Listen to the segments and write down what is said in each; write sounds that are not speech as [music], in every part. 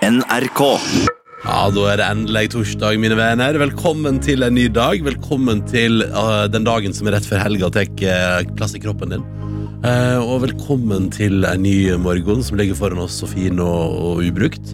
NRK. Ja, Da er det endelig torsdag, mine venner. Velkommen til en ny dag. Velkommen til eh, den dagen som er rett før helga og tar eh, plass i kroppen din. Eh, og velkommen til en ny morgen som ligger foran oss så fin og, og ubrukt.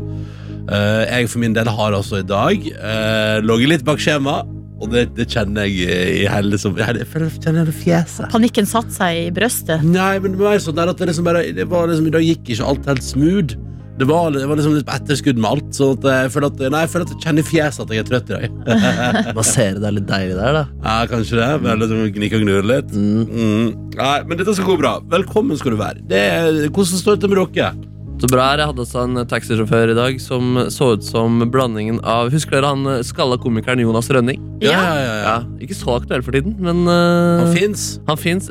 Eh, jeg for min del har altså i dag uh, ligget litt bak skjema, og det, det kjenner jeg eh, i hele som Jeg føler- kjenner hele fjeset. Panikken satte seg i brøstet. Nei, men det var sånn der at det liksom bare det var liksom, I dag gikk ikke alt helt smooth. Det var, det var liksom litt på etterskudd med alt. Så at jeg føler at, nei, jeg føler at jeg kjenner i fjeset at jeg er trøtt i dag. [laughs] Massere deg litt deilig der, da. Ja, kanskje det. Bare liksom gnikke og gnure litt. Mm. Mm. Nei, men dette skal gå bra. Velkommen skal du være. Det er, hvordan står det til med dere? Så bra er Jeg hadde også en taxisjåfør i dag som så ut som blandingen av Husker dere han skalla komikeren Jonas Rønning? Ja. ja, ja. Ja, Ikke så aktuell for tiden, men eh, Han fins. han fins.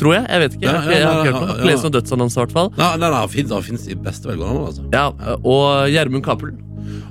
Tror jeg. Jeg vet ikke. Jeg har Ja, ja, ikke- jeg har ja, ikke hørt noe. Jeg har ja. ikke lest noen dødsannonse, i hvert fall. Nei, nei, nei, han fins, han fins i beste velgående, altså. Ja, og Gjermund Cappelen.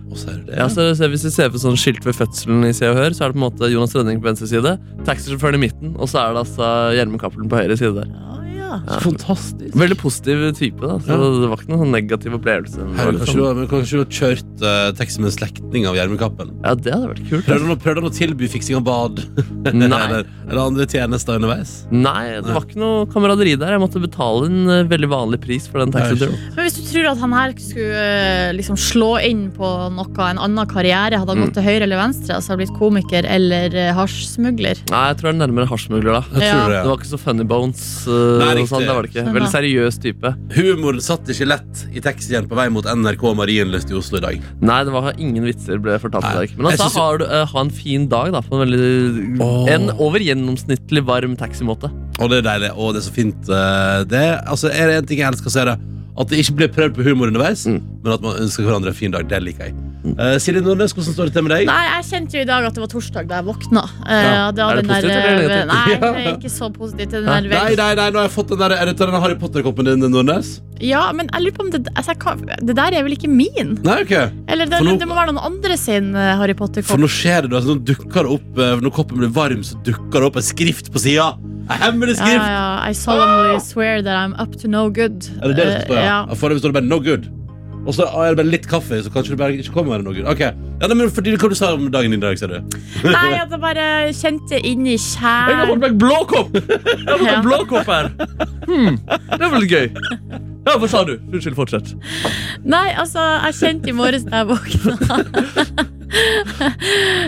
Og så er det det. Ja, så, så hvis vi ser på sånn skilt ved fødselen i Se og Hør, så er det på en måte Jonas Rønning på venstre side, taxisjåføren i midten, og så er det altså Gjermund Cappelen på høyre side der. Ja, ja. Så fantastisk. Veldig positiv type, da. Så Ja. det var ikke noen sånn negativ opplevelse. Det var Herre, litt kanskje, du, sånn- har- men kanskje du har kjørt uh, tekst med en slektning av Gjermund Cappelen? Ja, det hadde vært kult. Prøvde han å- prøvde han å tilby fiksing av bad? Nei, eller, eller andre tjenester underveis? nei, det var ikke noe kameraderi der. Jeg måtte betale en eh, veldig vanlig pris for den taxituren. Men hvis du tror at han her skulle eh, liksom slå inn på noe, en annen karriere, hadde han Mm. gått til høyre eller venstre, altså blitt komiker eller eh, hasjsmugler Nei, jeg tror det er nærmere hasjmugler, da. Jeg tror Ja. det, Det var ikke så funny bones. eh, Nei, og riktig. sånn, det var det ikke. Nei, Veldig nei. seriøs type. Humoren satt ikke lett i taxien på vei mot NRK Marienlyst i Oslo i dag. Nei, det var ingen vitser ble fortalt i Nei. dag. Men han Jeg sa synes jo- har du, eh, ha en fin dag, da. På en veldig Åh. En over gjennomsnittlig varm taximåte. Og det er deilig, og det er så fint. eh, Det, altså, er det en ting jeg elsker, så er det at det ikke blir prøvd på humor underveis, Mm. men at man ønsker hverandre en fin dag. Det liker jeg. Eh, Silje Nordnes, hvordan står det til med deg? Nei, jeg kjente jo i dag at det var torsdag da jeg våkna. Eh, Ja. da Er den det der, positivt eller eh, negativt? Nei, Ja. det er ikke så positivt. Den der Hæ? nei, nei, nei, nå har jeg fått den der, er det den Harry Potter-koppen din, Nordnes? Ja, men jeg lurer på om det, altså, jeg kan, det der er vel ikke min? Nei, ok. Eller det, For nå- det må være noen andre sin eh, Harry For Potter-kopp. nå skjer det, altså, nå dukker det opp, eh, når koppen blir varm, så dukker det opp en skrift på sida. En hemmelig Ja, skrift! ja, I solemnly swear that I'm up to no good. Er det det det Eh, står, ja? ja. ja. Foreløpig står det bare 'no good'. Og så er det bare litt kaffe, så kanskje det bare ikke kommer noe good. Ok, ja, nei, men fordi Hva du sa om dagen din i dag, ser du? Nei, [laughs] at jeg bare kjente inni Jeg har kjernen fått meg blå kopp! Jeg har fått Ja. meg blå kopp her. Hmm, det var litt gøy. Ja, hva sa du? Unnskyld, fortsett. Nei, altså, jeg kjente i morges da jeg våkna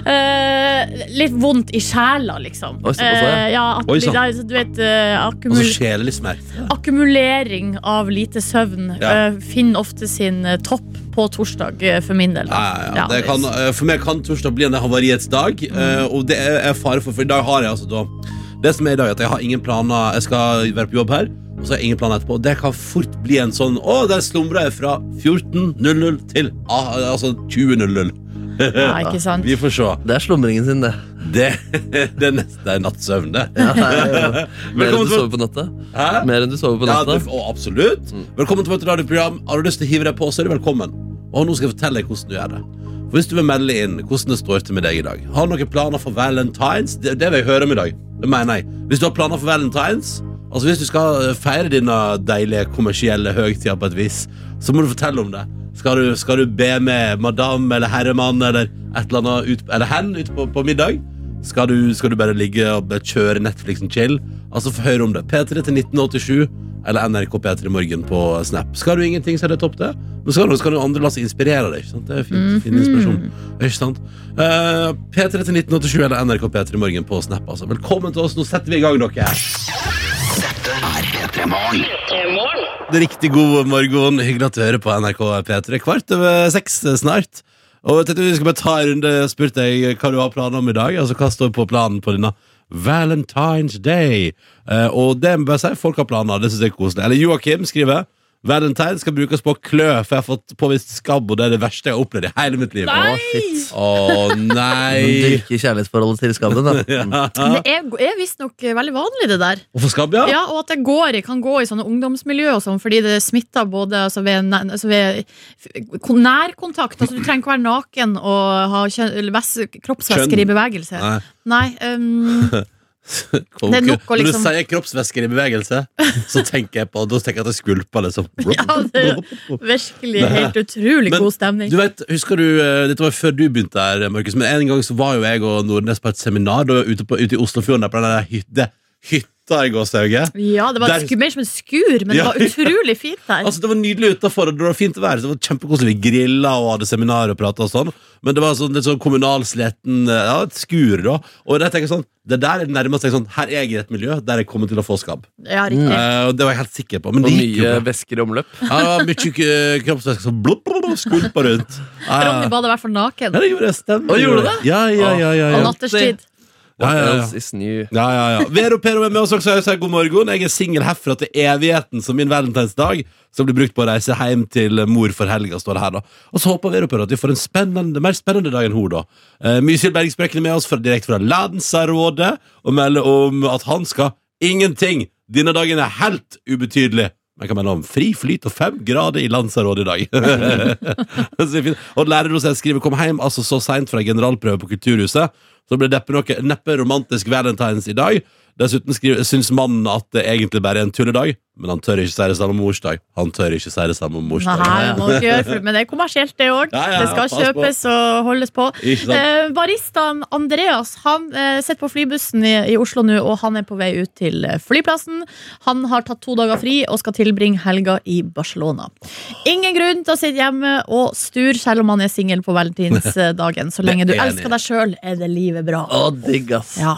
eh, Litt vondt i sjela, liksom. Oi, såpass, ja. Eh, ja, at Oi, de sant. der, du vet, eh, Og så akkumul sjelelig smerte. akkumulering av lite søvn Ja. eh, finner ofte sin eh, topp på torsdag, eh, for min del. Ja, da. ja, ja. Det kan, eh, for meg kan torsdag bli en havariets dag, eh, og det er er fare for, for i dag har jeg altså da Det som er i dag, er at jeg har ingen planer Jeg skal være på jobb her, og så har jeg ingen planer etterpå. Det kan fort bli en sånn Å, der slumra jeg fra 14.00 til ah, altså 20.00. ja, ikke sant? Vi får se. Det er slumringen sin, det. Det, [laughs] det neste er nattsøvn, det. Ja, ja, ja. [laughs] Mer Velkommen enn du til- sover på natta. Hæ? Mer enn du sover på Ja, natta. du, å, absolutt. Mm. Velkommen til vårt radioprogram. Har du lyst til å hive deg på, så er du velkommen. Og nå skal jeg fortelle deg hvordan du gjør det. For Hvis du vil melde inn hvordan det står til med deg i dag Har du noen planer for valentines? Det, det vil jeg høre om i dag. Det mener jeg. Hvis du har planer for valentines, altså hvis du skal eh, feire dine deilige kommersielle høgtider på et vis, så må du fortelle om det. Skal du, skal du be med madam eller herremann eller et eller annet ut, eller hen ut på, på middag? Skal du, skal du bare ligge og bare kjøre Netflix og chill? Altså, få høre om det. P3 til 1987 eller NRK P3 Morgen på Snap. Skal du ingenting, så er det topp, det. Men skal du, skal du andre la seg inspirere deg. Ikke sant? Det er fint, fin inspirasjon. Ikke sant? Eh, P3 til 1987 eller NRK P3 Morgen på Snap. Altså. Velkommen til oss. Nå setter vi i gang, dere. Det er riktig god morgen. Hyggelig at du hører på NRK P3. Kvart over seks snart. Og jeg tenkte vi skal bare ta en runde Spurt deg hva du har planer om i dag. Altså Hva står på planen på denne Valentine's Day? Eh, og det må jeg bare si, folk har planer. Det syns jeg er koselig. Eller Joakim skriver Valentine skal brukes på å klø, for jeg har fått påvist skabb, og det er det verste jeg har opplevd i hele mitt liv. Å, shit. Å nei! Dyrke kjærlighetsforholdet til skammen, [laughs] [laughs] da. Men Det er, er visstnok eh, veldig vanlig, det der. Hvorfor skabb, ja? [laughs] Ja, og at det går, i- kan gå i sånne ungdomsmiljø og sånn, fordi det smitter både altså ved, næ- altså ved f- kon- nærkontakt. Altså, du trenger ikke være naken og ha kjø- eller væs- kroppsvæsker Kjønn. i bevegelse. Nei. Nei, um, Koke. Det er nok å liksom- Når du sier kroppsvæsker i bevegelse, så tenker jeg på Da tenker jeg at jeg skvulper, liksom. [laughs] [laughs] Ja, det- Virkelig Nei. helt utrolig Men god stemning. Du vet, husker du, eh, Dette var før du begynte her, Markus, men en gang så var jo jeg og Nordnes på et seminar da, ute, på, ute i Oslofjorden, der på den der hytte, hytta i gåsehauget. Ja, det var Der- sku, mer som en skur, men Ja. det var utrolig fint der. Altså, det var nydelig utenfor, og det var fint vær. så Det var kjempekoselig. Vi grilla og hadde seminar og prata og sånn. Men det var sånn, litt sånn kommunalsleten eh, ja, et skur, da. Og der tenker jeg sånn, det der er nærmest jeg sånn, her er jeg i et miljø der jeg kommer til å få skabb. ja, riktig. Eh, og det var jeg helt sikker på. Men Og det gikk jo mye bra. væsker i omløp. Ja, det var mye eh, k- kroppsvæske som blubb, blubb, blubb, skvulpa rundt. Ja, ja. Ronny bad i hvert fall naken. Ja, det gjorde jeg. Stemmer. Å, gjorde du det? Ja, ja, ja. ja, Og ja. natterstid. Ja, ja, ja. What else is new? Ja, ja, ja. Vero Pero er med oss også. Jeg sier god morgen. Jeg er singel herfra til evigheten som min valentinsdag, som blir brukt på å reise hjem til mor for helga, står det her, da. Og så håper Vero Pero at vi får en spennende, mer spennende dag enn hun, da. Eh, Mysil Bergsprekken er med oss fra, direkte fra Ladensarådet og melder om at han skal ingenting. Denne dagen er helt ubetydelig. Men Jeg kan melde om fri flyt og fem grader i Lanzarote i dag. [laughs] Så det er fint. og lærerdosen skriver kom hjem altså så seint fra generalprøve på Kulturhuset. Så ble det neppe noe neppe romantisk valentines i dag. Dessuten skriver, syns mannen at det egentlig bare er en tulledag, men han tør ikke si det samme om morsdag. Han tør ikke si det samme om morsdag. Nei, det må dere gjøre, for- men det er kommersielt, det òg. Ja, ja, ja, Det skal pass på. kjøpes og holdes på. Ikke sant? Eh, baristaen Andreas Han eh, sitter på flybussen i, i Oslo nå, og han er på vei ut til eh, flyplassen. Han har tatt to dager fri og skal tilbringe helga i Barcelona. Ingen grunn til å sitte hjemme og sture selv om han er singel på valentinsdagen. Så lenge du Det er enig. elsker deg sjøl, er det livet bra. Å, digg, ass. Ja.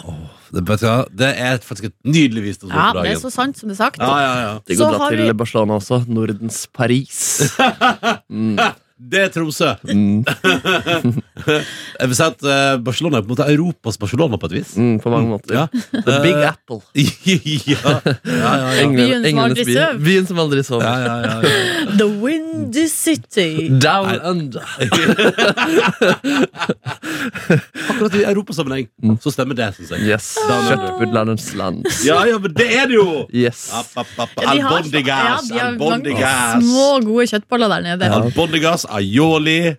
Det, vet du hva? det er faktisk et nydelig visdom ja, for det er dagen. så sant som det er sagt. Ja, ja, ja. Digg Så å dra har til vi- Barcelona også. Nordens [laughs] Paris. Det er Tromsø. Mm, [laughs] Jeg vil si at eh, Barcelona er på en måte Europas Barcelona på et vis. mm, på mange måter. Ja. [laughs] The Big Apple. ja. ja, ja, ja. Englen- Byen som englenes aldri by. sov. Byen som aldri sov. Ja, ja, [laughs] ja, ja. The Windy City. Down under. Akkurat i europasammenheng Mm. så stemmer det, syns jeg. Yes. Down under. Kjøttbudlandens land. Ja, ja, men det er det jo! Yes. App, app, app. Ja, de har- Albondigas, ja, de har mange albondigas. små, gode kjøttboller der nede. Ja. Albondigas, aioli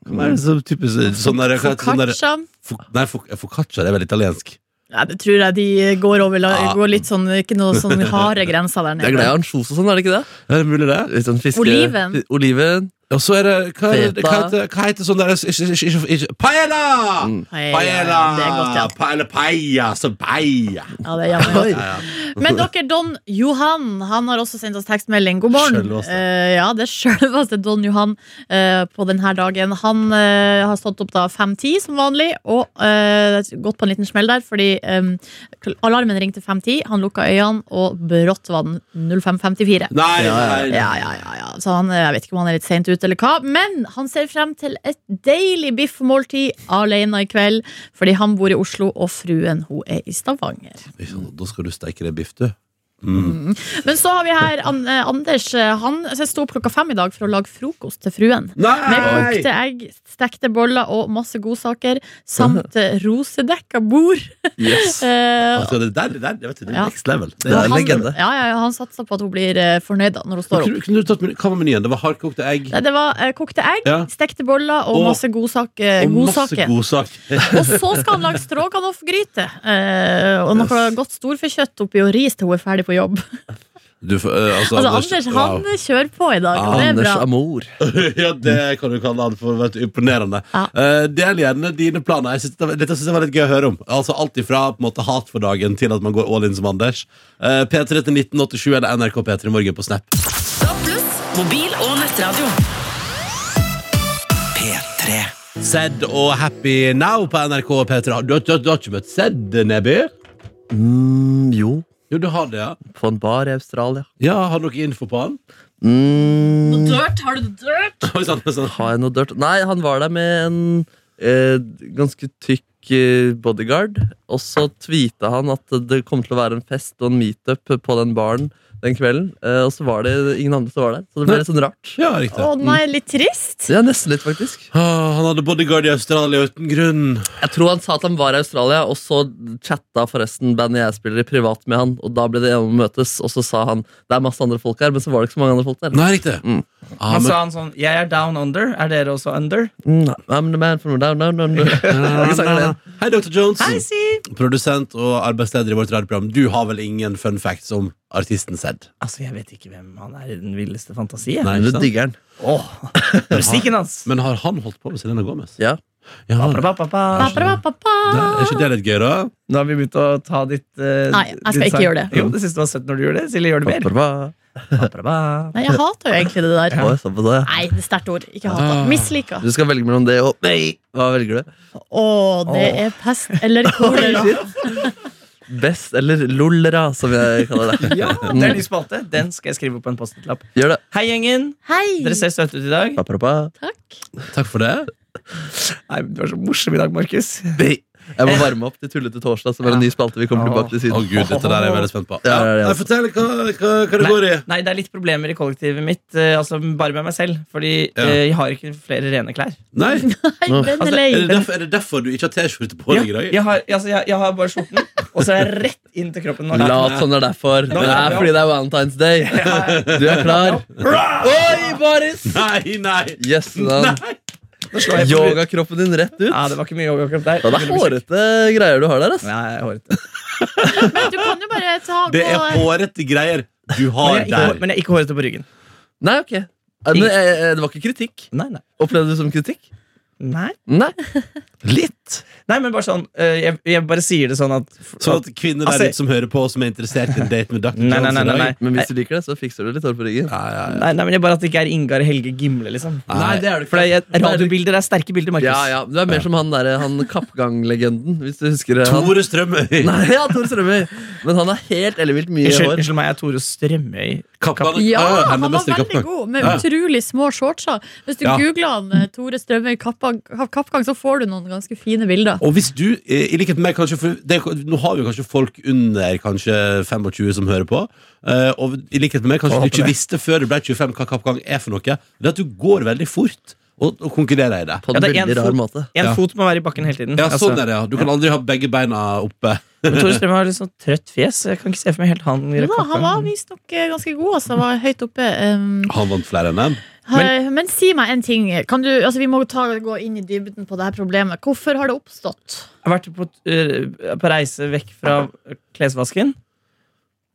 Hva er det så typisk sånn der, sånn der, Focaccia. fo- Nei, fo- focaccia det er vel italiensk. Ja, det tror jeg de går over la- Ja. går litt sånn, Ikke noe [laughs] sånn harde grenser der Det er glad i nede. ansjos og sånn, er det ikke det? Er det mulig, det? Litt sånn fiske... Oliven. fi- Oliven. Og så er det Hva, er det- hva, Feta. heter, hva heter sånn der ikke, ikke, ikke, ikke, Paella! Mm. Hei, Paella! ja, det er godt, ja. Pa- Eller paella, så paella. ja det er jammen godt. Ja, ja. Men dere, Don Johan Han har også sendt oss tekstmelding. God morgen. Selveste. Eh, ja, det er selveste Don Johan eh, på denne dagen. Han eh, har stått opp da 5.10 som vanlig, og eh, gått på en liten smell der, fordi eh, alarmen ringte 5.10. Han lukka øynene, og brått var den 05.54. Nei, Ja, ja, nei. Ja, ja, ja, ja. Så han, jeg vet ikke om han er litt sent ute eller hva, men han ser frem til et deilig biffmåltid alene i kveld, fordi han bor i Oslo, og fruen hun er i Stavanger. sånn, Da skal du steike deg biff, du. Men så har vi her An eh, Anders. eh, Han så jeg sto opp klokka fem i dag for å lage frokost til fruen. Med Nei! kokte egg, stekte boller og masse godsaker, samt eh, rosedekka bord. Yes. [laughs] Eh, Altså, det der, det der, det vet du, det er Ja. next level. Det er og en han, legende. Ja, ja, ja, han satser på at hun blir eh, fornøyd da, når hun står opp. Kunne, kunne du tatt meny- Hva var menyen? Det var hardkokte egg Nei, Det var eh, kokte egg, Ja. stekte boller og, Og- masse godsak, eh, og masse godsaker. godsak. Og så skal han lage stroganoff-gryte. Eh, og noe godt storfekjøtt oppi og ris til hun er ferdig på jobb. Du, får- eh, altså, Altså, Anders han kjører på i dag, og det er Anders bra. Amor. wow. [laughs] ja, det kan du kalle han for. Vet, du, imponerende. Ja. Eh, del gjerne dine planer. Jeg synes, det var- dette syns jeg var litt gøy å høre om. Altså Alt ifra på en måte, hat for dagen til at man går all in som Anders. Eh, P3 til 1987 eller NRK P3 i morgen på Snap. Mobil og nettradio. P3 Sed og Happy Now på NRK og P3. Du, har- du, har- du har ikke møtt Sed, Neby? Mm, jo, Jo, du har det, ja. på en bar i Australia. Ja, Har du noe info på [laughs] han? Mm, Dirt, har du dirt? Oi, sånn, sånn. har jeg noe dørt? Nei, han var der med en eh, ganske tykk eh, bodyguard. Og så tweeta han at det kom til å være en fest og en meetup på den baren den kvelden. Eh, og så var det ingen andre som var der. Så det ble litt sånn rart. Ja, riktig. Å nei, litt trist. Ja, nesten litt, faktisk. Ah, han hadde bodyguard i Australia uten grunn. Jeg tror han sa at han var i Australia, og så chatta forresten bandet jeg spiller i, privat med han. Og da ble det enige om å møtes, og så sa han det er masse andre folk her, men så var det ikke så mange andre folk der. Nei, riktig. Mm. Ah, Han men- sa han sånn Jeg er down under. Er dere også under? Mm, I'm the man from down, down, down, down. [laughs] Ikke sagt det. Hei, Dr. Jones. Hei, si! Produsent og arbeidsleder i vårt radioprogram. Du har vel ingen fun facts om artisten Zed? Altså, jeg vet ikke hvem han er i den villeste fantasien. Nei, ikke Men du sant? digger den. Åh, [laughs] musikken hans! Men har han holdt på med Selena Gomez? Ja. Ja, det, Ba-ba-ba-ba. det, er Ba-ba-ba-ba. ikke det litt gøy, da? Nå har vi begynt å ta ditt eh, Nei, jeg skal ditt ikke sang. gjøre det. Jo, det syns du var søtt når du gjorde det. Silje, gjør det mer. Ba-ba-ba. Ba-ba-ba. Nei, jeg hater jo egentlig det der. Oi, så på det. Nei, det er sterkt ord. Ikke hata. Mislika. Du skal velge mellom det og Nei! Hva velger du? Å, det er pest eller kolera. Best eller lolera, som jeg kaller det. [laughs] Mm, Ja, det er ny spalte. Den skal jeg skrive opp på en post-it-lapp. Gjør det. Hei, gjengen. Hei! Dere ser søte ut i dag. Ba-ba-ba. Takk. Takk for det. Nei, men Du er så morsom i dag, Markus. Nei. Jeg må varme opp til Tullete torsdag, som er en ny spalte vi kommer tilbake Å til siden. gud, dette der er jeg veldig spent på. Ja, ja, ja. Nei, Fortell hva, hva, hva det går i. Nei, det er litt problemer i kollektivet mitt. eh, altså Bare med meg selv. Fordi Ja. eh, jeg har ikke flere rene klær. Nei, Hei, Nå. den Altså, er er det lei. derfor, er det derfor du ikke har T-skjorte på Ja, deg i dag? jeg, har, altså, jeg, jeg har bare skjorten, og så er jeg rett inn til kroppen. Nå. [laughs] Lat som det er derfor. Det er fordi det er Valentine's Day. Du er klar. Oi, Baris! Nei, nei! Yes, man. Nå slår jeg på brud- Yogakroppen din rett ut. Ja, det var ikke mye yogakropp der. Ja, det er hårete greier du har der. ass Nei, jeg er hårete. Men du kan jo bare ta Det er gå hårete greier du Ah, Men har jeg, er ikke, hår- der. men jeg er ikke hårete på ryggen. Nei, ok Eh, men, eh, eh, Det var ikke kritikk. Nei, nei. Opplevde du det som kritikk? Nei, Nei. Litt. nei men bare sånn eh, jeg, jeg bare sier det sånn at Sånn at kvinner der Altså- ute som hører på, som er interessert i en date med Dr. Jones Nei, nei, nei, nei, nei. Men hvis du liker det, så fikser du litt hår på ryggen. Ja, ja, ja. Nei, nei, men jeg bare at det ikke er Ingar Helge Gimle, liksom. Nei, det er du ikke. For det er- radiobilder er sterke bilder, Markus. Ja, ja, Du er mer som han derre han kappganglegenden, hvis du husker det. Han. Tore Strømøy. [laughs] Nei, ja, Tor Strømøy. Men han har helt ellevilt mye Unnskyld, hår. unnskyld meg, jeg er Tore Strømøy. Kappgang. Ja, Ja, ja, han var NMS i veldig kappgang. god, med Ja. utrolig små shortser. Hvis du Ja. googler han eh, Tore Strømøy Kappgang, Kappgang, så får du noen ganske fine bilder. Og hvis du, eh, i likhet med meg, kanskje for det, er- Nå har vi jo kanskje folk under kanskje 25 som hører på. eh, og i likhet med meg, kanskje du håper ikke visste før du ble 25 hva kappgang er for noe. Det er at du går veldig fort og, og konkurrerer i det. På Ja, en det er en veldig fot- rar måte. En Ja. fot må være i bakken hele tiden. Ja, sånn Altså, er det, ja. Du kan aldri ha begge beina oppe. men Tore Strømøy har litt sånn trøtt fjes. Jeg kan ikke se for meg helt han. Jo da, han var visstnok eh, ganske god, altså. Var høyt oppe. Um, Han vant flere enn dem. men, men si meg en ting. Kan du, altså, vi må ta, gå inn i dybden på det her problemet. Hvorfor har det oppstått? Jeg har vært på, eh, på reise vekk fra klesvasken.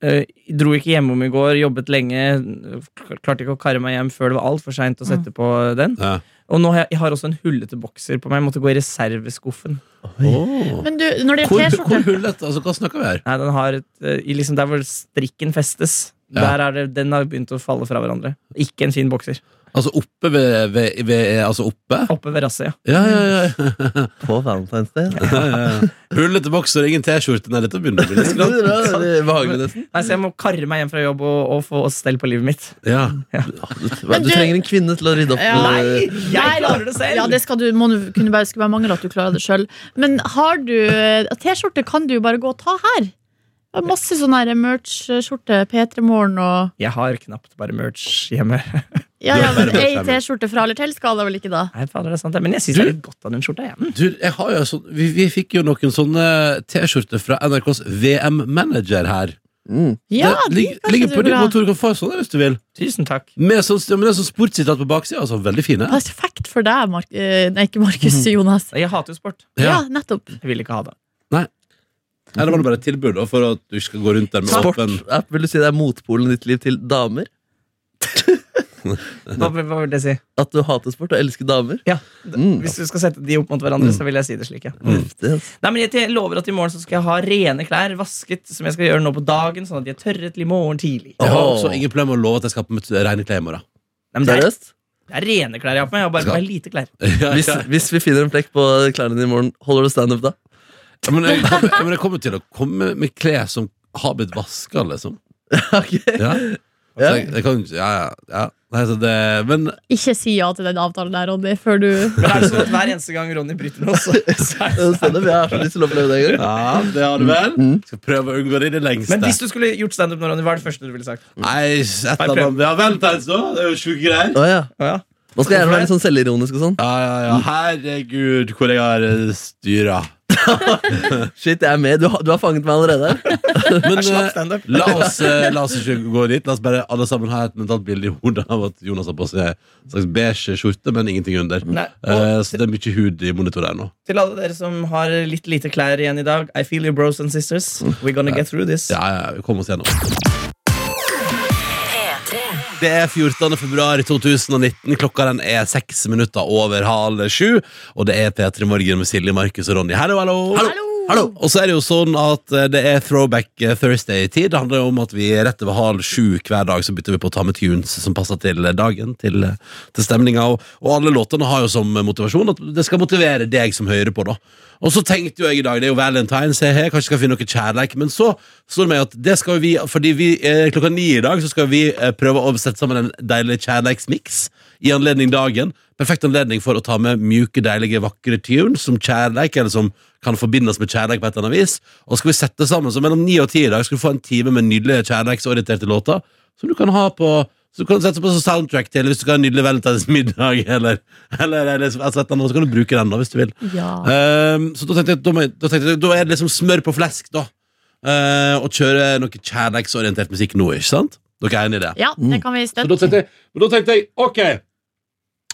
Eh, dro ikke hjemom i går, jobbet lenge. kl- Klarte ikke å karre meg hjem før det var altfor seint å sette på den. Ja. Og nå har jeg, jeg har også en hullete bokser på meg. Jeg måtte gå i reserveskuffen. Åh. Men du, når det Hvor, gjelder hvor T-skjorte hullete? Altså, hva snakker vi her? Nei, den har et, eh, i liksom Der hvor strikken festes, Ja. Der er det, den har begynt å falle fra hverandre. Ikke en fin bokser. Altså oppe ved, ved, ved Altså oppe? Oppe ved rasset, ja. Ja, ja, ja. [laughs] På Valentine's Day. ja. ja, ja, ja. Hullete bokser, ingen T-skjorte. Nei, dette begynner å bli litt Det skralt. er veldig Behagelig, nesten. Nei, Så jeg må karre meg hjem fra jobb og, og få stell på livet mitt. Ja. Men Du du- trenger en kvinne til å rydde opp. Ja. eh, Jeg klarer det selv! Ja, det skal du, må du kunne bare, skulle bare mangle at du klarer det sjøl. Men har du eh, T-skjorte kan du jo bare gå og ta her. Det er masse sånn her merch-skjorte. P3 Morgen og Jeg har knapt bare merch hjemme. Ja, Du ja, har men bare ei merch, ja. T-skjorte fra eller til skal det vel ikke, da? Nei, fader, det er sant. det. Men jeg syns det er litt godt av den skjorta. Mm. Jeg. Du, jeg har jo sånn, vi, vi fikk jo noen sånne T-skjorter fra NRKs VM-manager her. Mm. Ja, det de ligger, kanskje ligger du på burde ditt ha. kontor. Du kan få sånne hvis du vil. Tusen takk. Med sånn, ja, men det er sånn sportssitat på baksida. Altså, veldig fine. Perfekt for deg, Mark eh, Nei, ikke Markus, Mhm. Jonas. Jeg hater jo sport. Ja, nettopp. Jeg vil ikke ha [laughs] det. Eller var det bare et tilbud da, for at du ikke skal gå rundt der med Sport åpen er, vil du si det er motpolen i ditt liv til damer? Hva, hva vil det si? At du hater sport og elsker damer? Ja. Mm. Hvis du skal sette de opp mot hverandre, Mm. så vil jeg si det slik. Ja. Mm. Heftig, ass. Nei, men jeg te- lover at i morgen så skal jeg ha rene klær vasket, som jeg skal gjøre nå på dagen, sånn at de er tørre til i morgen tidlig. Jeg har Åh. også ingen problemer med å love at jeg skal på med rene klær i morgen. Nei, men det, er, Seriøst? det er rene klær jeg har på meg. Jeg har bare på meg lite klær. [laughs] Ja, Hvis, ja. hvis vi finner en flekk på klærne dine i morgen, holder du standup da? Men jeg, kommer- ja, men jeg kommer til å komme med klær som har blitt vaska, liksom. [laughs] Ok. [laughs] Ja. Så jeg, jeg kan, ja, ja, ja. Nei, så det, men Ikke si ja til den avtalen der, Ronny, før du Men er det sånn at [laughs] hver eneste gang Ronny bryter noe, så, så er det Standup, Jeg har så lyst til å oppleve det en gang. Ja, det har du vel. Skal prøve å unngå det i det lengste. men hvis du skulle gjort standup nå, Ronny, hva er det første du ville sagt? Nei, et eller annet Ja, vent litt, da. Det er jo sjuke greier. Å, ja. Å ja. Mm. Man skal gjerne være litt sånn selvironisk og sånn. Ja, ja, ja. Herregud, hvor jeg har eh, styra. Shit, jeg er med. Du, har- du har fanget meg allerede. Men Slapp eh, standup. la, oss, eh, la oss ikke gå dit. La oss bare alle sammen ha et mentalt bilde i hodet av at Jonas har på seg en slags beige skjorte, men ingenting under. Nei, og Eh, så det er mye hud i monitoren her nå. til alle dere som har litt lite klær igjen i dag, I feel you, bros and sisters. We're gonna get through this. Mm. Ja, ja, vi kommer oss gjennom. Det er 14. februar 2019. Klokka den er seks minutter over halv sju. Og det er P3 Morgen med Silje, Markus og Ronny. Hallo, hallo! Hallo! Hallo. Og så er det jo sånn at eh, det er throwback eh, Thursday-tid. Det handler jo om at vi rett over halv sju hver dag så bytter vi på å ta med tunes som passer til eh, dagen, til, eh, til stemninga. Og, og alle låtene har jo som eh, motivasjon at det skal motivere deg som hører på, da. Og så tenkte jo jeg i dag, det er jo valentines, he, he, kanskje skal finne noe kjærleik, men så står det meg at det skal jo vi, fordi vi eh, klokka ni i dag så skal vi eh, prøve å sette sammen en deilig kjærleiksmiks i anledning dagen. Perfekt anledning for å ta med mjuke, deilige, vakre tunes som kjærleik, eller som kan forbindes med kjærleik på et eller annet vis. Og skal vi sette sammen, så mellom ni og ti i dag skal du få en time med nydelige kjærleiksorienterte låter, som du kan ha på så du kan sette på som soundtrack til hvis du skal ha en nydelig valentinsmiddag, [laughs] eller, eller, eller et eller annet, så kan du bruke den da, hvis du vil. Ja. Ehm, så da tenkte, jeg, da, må jeg, da tenkte jeg Da er det liksom smør på flesk, da. Eh, og kjøre noe kjærleiksorientert musikk nå, ikke sant? Dere er enig i det? ja, det kan vi Mm. Så da støtte. tenkte jeg, men da tenkte jeg ok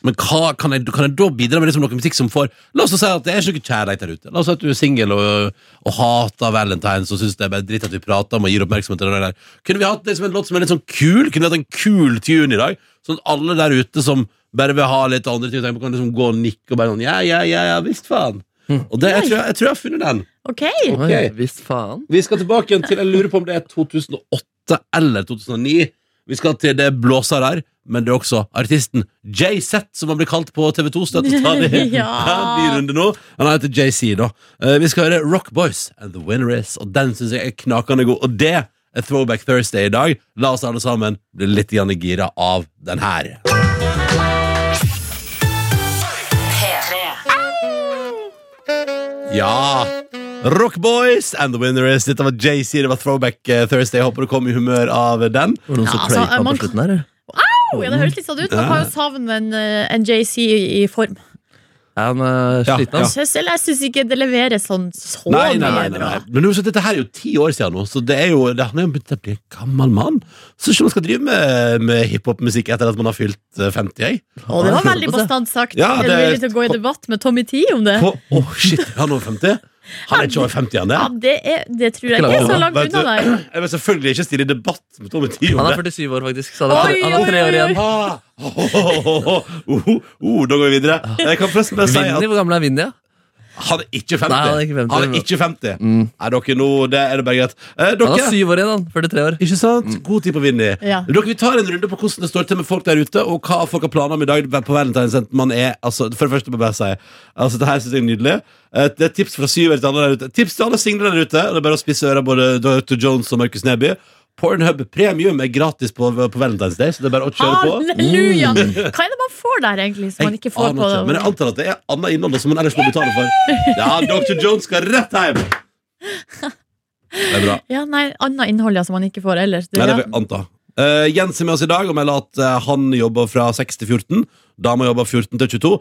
Men hva, kan, jeg, kan jeg da bidra med liksom noe musikk som får La oss si at det er ikke noe kjærlighet der ute La oss si at du er singel og, og hater Valentine's Og synes det er bare dritt at vi prater om og gir oppmerksomhet til det der Kunne vi hatt liksom en låt som er litt sånn kul Kunne vi hatt en kul tune i dag Sånn at alle der ute som bare vil ha litt andre ting å tenke på, Kan liksom gå og nikke og bare sånn Ja, ja, ja, ja, visst faen Og det, jeg, tror, jeg- jeg tror jeg har funnet den Ok, [laughs] Oi, Visst faen. vi skal tilbake igjen til Jeg lurer på om det er 2008 eller 2009. Vi skal til det blåser her, men det er også artisten JZ, som han blir kalt på TV2 støtt og stadig. Ja. Ny runde nå. Han heter JC, da. Eh, Vi skal høre Rock Boys and The Winner Is, og den syns jeg er knakende god. Og det er Throwback Thursday i dag. La oss alle sammen bli litt grann gira av den her. Ja! Rock Boys and The Winner Is. Dette var JC, det var Throwback eh, Thursday. Jeg håper du kom i humør av den. Var det noen Ja, som altså, kløypa man- på slutten her? oh, ja, det høres litt sånn ut. Man kan jo savne en, eh, en JC i, i form. Ja, han er Ja, sliten, ja. altså. Jeg syns- eller jeg syns ikke det leveres sånn så Nei, nei, mye nei, nei, bra. nei. Men nå, så dette her er jo ti år siden nå, så det er jo, det, han er jo begynt å bli en gammel mann. Så ikke man skal drive med, med hiphop-musikk etter at man har fylt eh, 50, jeg. Og det var veldig bastant sagt. Ja, er du det- villig til å gå i debatt med Tommy T om det? På, oh, shit, er han over 50? Han er ikke over 50, han Ja, er. det, er, det tror jeg ikke er så langt Vet du, unna deg. Jeg vil selvfølgelig ikke stille i debatt med Tommy Tio Han om er det. 47 år, faktisk. Så han har Oi, tre, han har oi, tre år oi, oi. igjen. Ah, oh, oh, oh, oh, oh, oh, da går vi videre. Jeg kan forresten bare si at Vinni, hvor gammel er Vinni? ja? han er ikke 50. Nei, han er ikke 50. Han er ikke 50. Mm. Nei, dere, nå det er det bare greit. Eh, dere, Han har syv år igjen, han. 43 år. Ikke sant? Mm. God tid på Vinni. Ja. Dere, Vi tar en runde på hvordan det står til med folk der ute, og hva folk har planer om i dag på Valentine's. Enten man er, altså, for det første må jeg bare si altså, Det her synes jeg er nydelig. Eh, Det er tips fra syver til alle der ute. Tips til alle single der ute. og Det er bare å spisse øra både Dr. Jones og Markus Neby. Pornhub Premium er gratis på, på Valentine's Day, så det er bare å kjøre på. Halleluja! Hva er det man får der, egentlig, som man ikke får aner på ikke, Men jeg antar at det er annet innhold som man ellers må betale for. Ja, Dr. Jones skal rett hjem! Det er bra. Ja, nei, Annet innhold ja, som man ikke får ellers. Du, Nei, det ja. vil jeg anta. Eh, Jens er med oss i dag og melder at eh, han jobber fra 6 til 14. Dama jobber 14 til 22.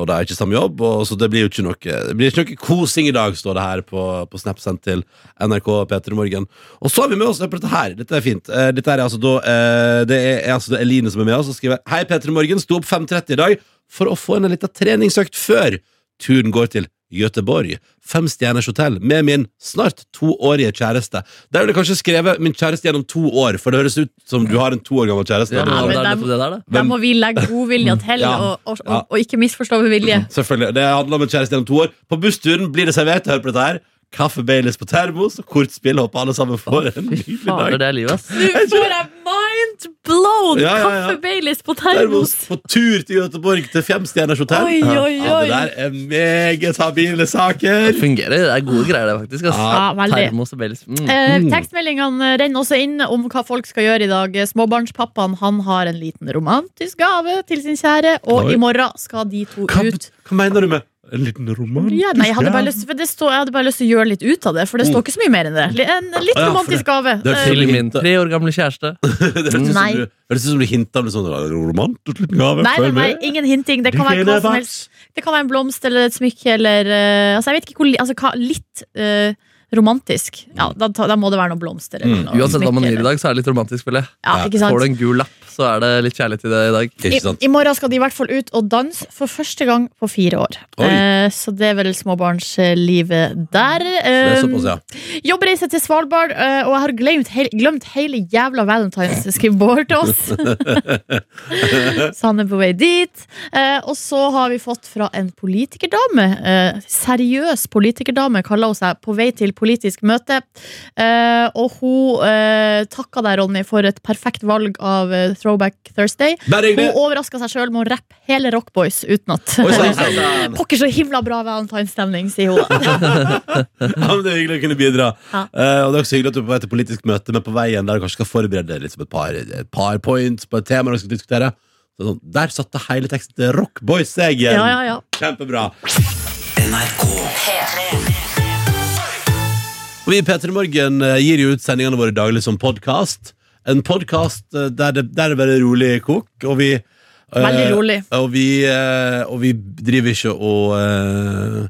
Og det er ikke samme jobb, og så det blir jo ikke noe, det blir ikke noe kosing i dag, står det her på, på Snap sendt til NRK P3 Morgen. Og så har vi med oss dette her. Dette er fint. Eh, dette her er altså da eh, Det er, er altså da Eline som er med oss og skriver Hei, P3 Morgen. Sto opp 5.30 i dag for å få en liten treningsøkt før. Turen går til Göteborg, fem stjerners hotell, med min snart toårige kjæreste. Der ville jeg kanskje skrevet 'min kjæreste gjennom to år', for det høres ut som du har en to år gammel kjæreste. Ja, men han men er dem- nettopp det der, da. Der må vi legge godvilja til, Mm. Ja. og, og, Ja. og, og ikke misforstå med vilje. Selvfølgelig. Det handler om en kjæreste gjennom to år. På bussturen blir det servert, hør på dette her. Kaffe Baileys på termos og kortspill. Håper alle sammen får en Fy nydelig fader, dag. det er livet, ass. Nå får jeg mind blown! Ja, ja, ja. Kaffe Baileys på termos! Termos på tur til Göteborg, til femstjerners hotell. Oi, oi, Ja, det oi. der er meget habile saker. Det fungerer. Det er gode greier, det, faktisk. ass. Ja, Ja, veldig. Termos og Baileys. Mm. Eh, Mm. tekstmeldingene renner også inn om hva folk skal gjøre i dag. Småbarnspappaen han har en liten romantisk gave til sin kjære, og Oi. i morgen skal de to Hva, ut. hva mener du med En liten roman? Ja, nei, jeg hadde bare lyst for det står- Jeg hadde bare lyst til å gjøre litt ut av det, for det står ikke så mye mer enn det. Li- En litt Mm. Ja, for romantisk gave. Det er Eh, fint. Til min tre år gamle [laughs] kjæreste. Det høres ut som Nei. du- det høres ut som du hinta om en sånn romantisk liten gave. Nei, nei, Følg nei, med. ingen hinting. Det kan være hva som helst. Det kan være en blomst eller et smykke eller eh, Altså, jeg vet ikke hvor li- altså, hva, Litt eh, romantisk. Ja, da, ta- da må det være noe blomster eller Mm. noe. Uansett hva man smykke gir i eller- dag, så er det litt romantisk. føler jeg. Ja, ikke sant? Får du en gul lapp, så er det litt kjærlighet i det i dag. Ikke sant? I, I morgen skal de i hvert fall ut og danse for første gang på fire år. Oi. Eh, så det er vel småbarnslivet der. Det er Eh, såpass, ja. Jobbreise til Svalbard, eh, og jeg har glemt, hel, glemt hele jævla Valentine's, skriver Bård til oss. så han er på vei dit. Eh, og så har vi fått fra en politikerdame, eh, seriøs politikerdame, kaller hun seg, på vei til politisk møte. Eh, og hun eh, takka deg, Ronny, for et perfekt valg av eh, Throwback Thursday. Bare Hun hyggelig! overraska seg sjøl med å rappe hele Rock Boys utenat. Oi, sann, sann. [laughs] Pokker så himla bra valentinestemning, sier hun. [laughs] Ja, men det er hyggelig å kunne bidra. Ja. Eh, og det er også hyggelig at du er på vei til politisk møte, men på veien der kanskje skal forberede deg litt som et par, et par points på et tema dere skal diskutere. Så sånn, der satt det hele teksten til Rock Boys seg igjen. Ja, ja, ja. Kjempebra. Og vi i P3 Morgen eh, gir jo ut sendingene våre daglig som podkast. En podkast eh, der, det- der det bare er rolig kok, og vi eh, Veldig rolig. Og vi, eh, og vi driver ikke og eh,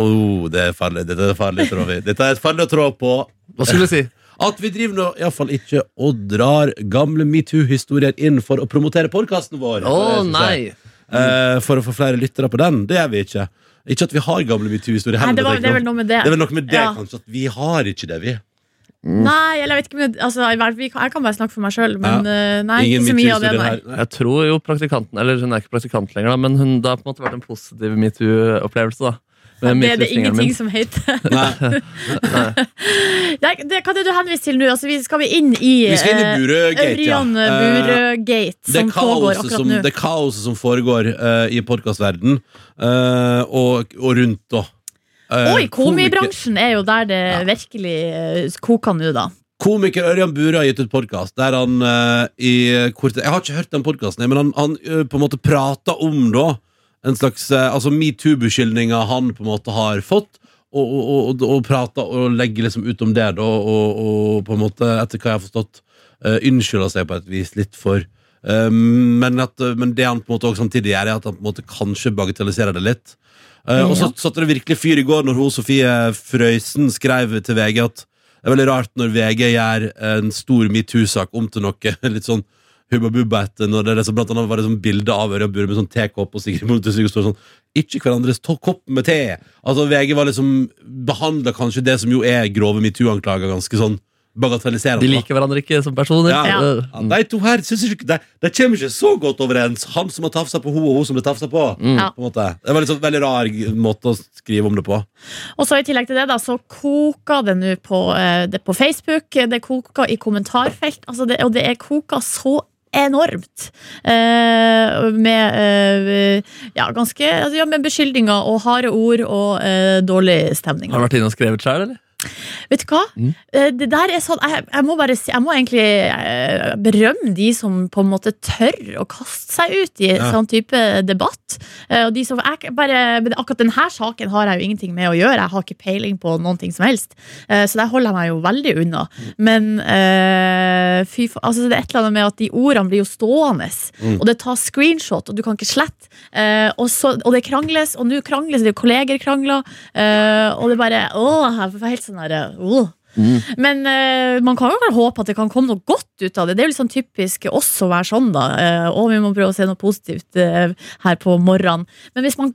oh, det er farlig, dette er farlig, tror vi. Dette er et farlig å trå på. Hva skulle du si? At vi driver nå iallfall ikke og drar gamle metoo-historier inn for å promotere podkasten vår. Å Det synes jeg. nei! Eh, for å få flere lyttere på den. Det gjør vi ikke. Ikke at vi har gamle metoo-historier. Nei, heller, det, var, tenker det er jeg. vel noe med det. det er vel noe med det, Ja. kanskje, at vi har ikke det, vi. Nei, eller jeg vet ikke om det, altså, jeg, vet- vi kan- jeg kan bare snakke for meg sjøl, men Ja. eh, nei, Ingen ikke så mye av det. metoo-historier Nei. her. Jeg tror jo praktikanten Eller hun er ikke praktikant lenger, da, men hun, det har på en måte vært en positiv metoo-opplevelse. da Med Det er det metoo-fingeren ingenting min. som heter. [laughs] Nei, Nei, det, hva er det du henviser til nå? Altså, vi skal vi inn i vi [laughs] skal inn i eh, Burø-gate, ja. Ørjan Eh, Burøe-gate, det som pågår kaoset akkurat som, nå. det kaoset som foregår eh, i podkastverdenen, og, og rundt, da. Eh, Og i komibransjen er jo der det virkelig eh, koker nå, da. Komiker Ørjan Bure har gitt ut podkast der han eh, i korte Jeg har ikke hørt den podkasten, men han, han eh, på en måte prater om da en slags eh, altså metoo-beskyldninger han på en måte har fått, og, og, og, og, og prater og legger liksom ut om det, da, og, og på en måte, etter hva jeg har forstått, eh, unnskylder seg på et vis litt for eh, men, at, eh, men det han på en måte også samtidig gjør, er at han på en måte kanskje bagatelliserer det litt. Eh, og så satte det virkelig fyr i går når hun Sofie Frøysen skrev til VG at det er veldig rart når VG gjør en stor metoo-sak om til noe [laughs] litt sånn hubba bubba etter når det er liksom, blant annet var det sånn bilde av Ørjan Bure med sånn tekopp og Sigrid Bonde Tusvik og står sånn Ikke hverandres to- kopp med te! Altså VG var liksom behandla kanskje det som jo er grove metoo-anklager, ganske sånn bagatelliserende. De da. liker hverandre ikke som personer. Ja. Ja. Eh, Ja, de to her synes jeg ikke, de, de kommer ikke så godt overens. Han som har tafsa på henne, og hun som ble tafsa på. Ja. på en måte. Det var en sånn veldig rar g- måte å skrive om det på. Og så i tillegg til det da, så koker det nå på, eh, det på Facebook, det koker i kommentarfelt, altså det, og det er koka så enormt. Eh, med eh, ja, ganske, altså, ja, med beskyldninger og harde ord og eh, dårlig stemning. Har du vært inne og skrevet sjøl, eller? Vet du hva? Mm. Eh, Det der er sånn, jeg, jeg må bare si, jeg må egentlig eh, berømme de som på en måte tør å kaste seg ut i Ja. sånn type debatt. Eh, Og de som, jeg, bare, men akkurat denne saken har jeg jo ingenting med å gjøre. Jeg har ikke peiling på noen ting som helst. Eh, Så der holder jeg meg jo veldig unna. Mm. Men eh, fy faen, altså det er et eller annet med at de ordene blir jo stående. Mm. Og det tar screenshot, og du kan ikke slette. Eh, og, så, og det krangles, og nå krangles det, kolleger krangler. eh, og det bare Åh, jeg får helt sånn derre åh. Men eh, man kan jo vel håpe at det kan komme noe godt ut av det. Det er jo litt sånn typisk oss å være sånn, da. Eh, og vi må prøve å se noe positivt eh, her på morgenen. Men hvis man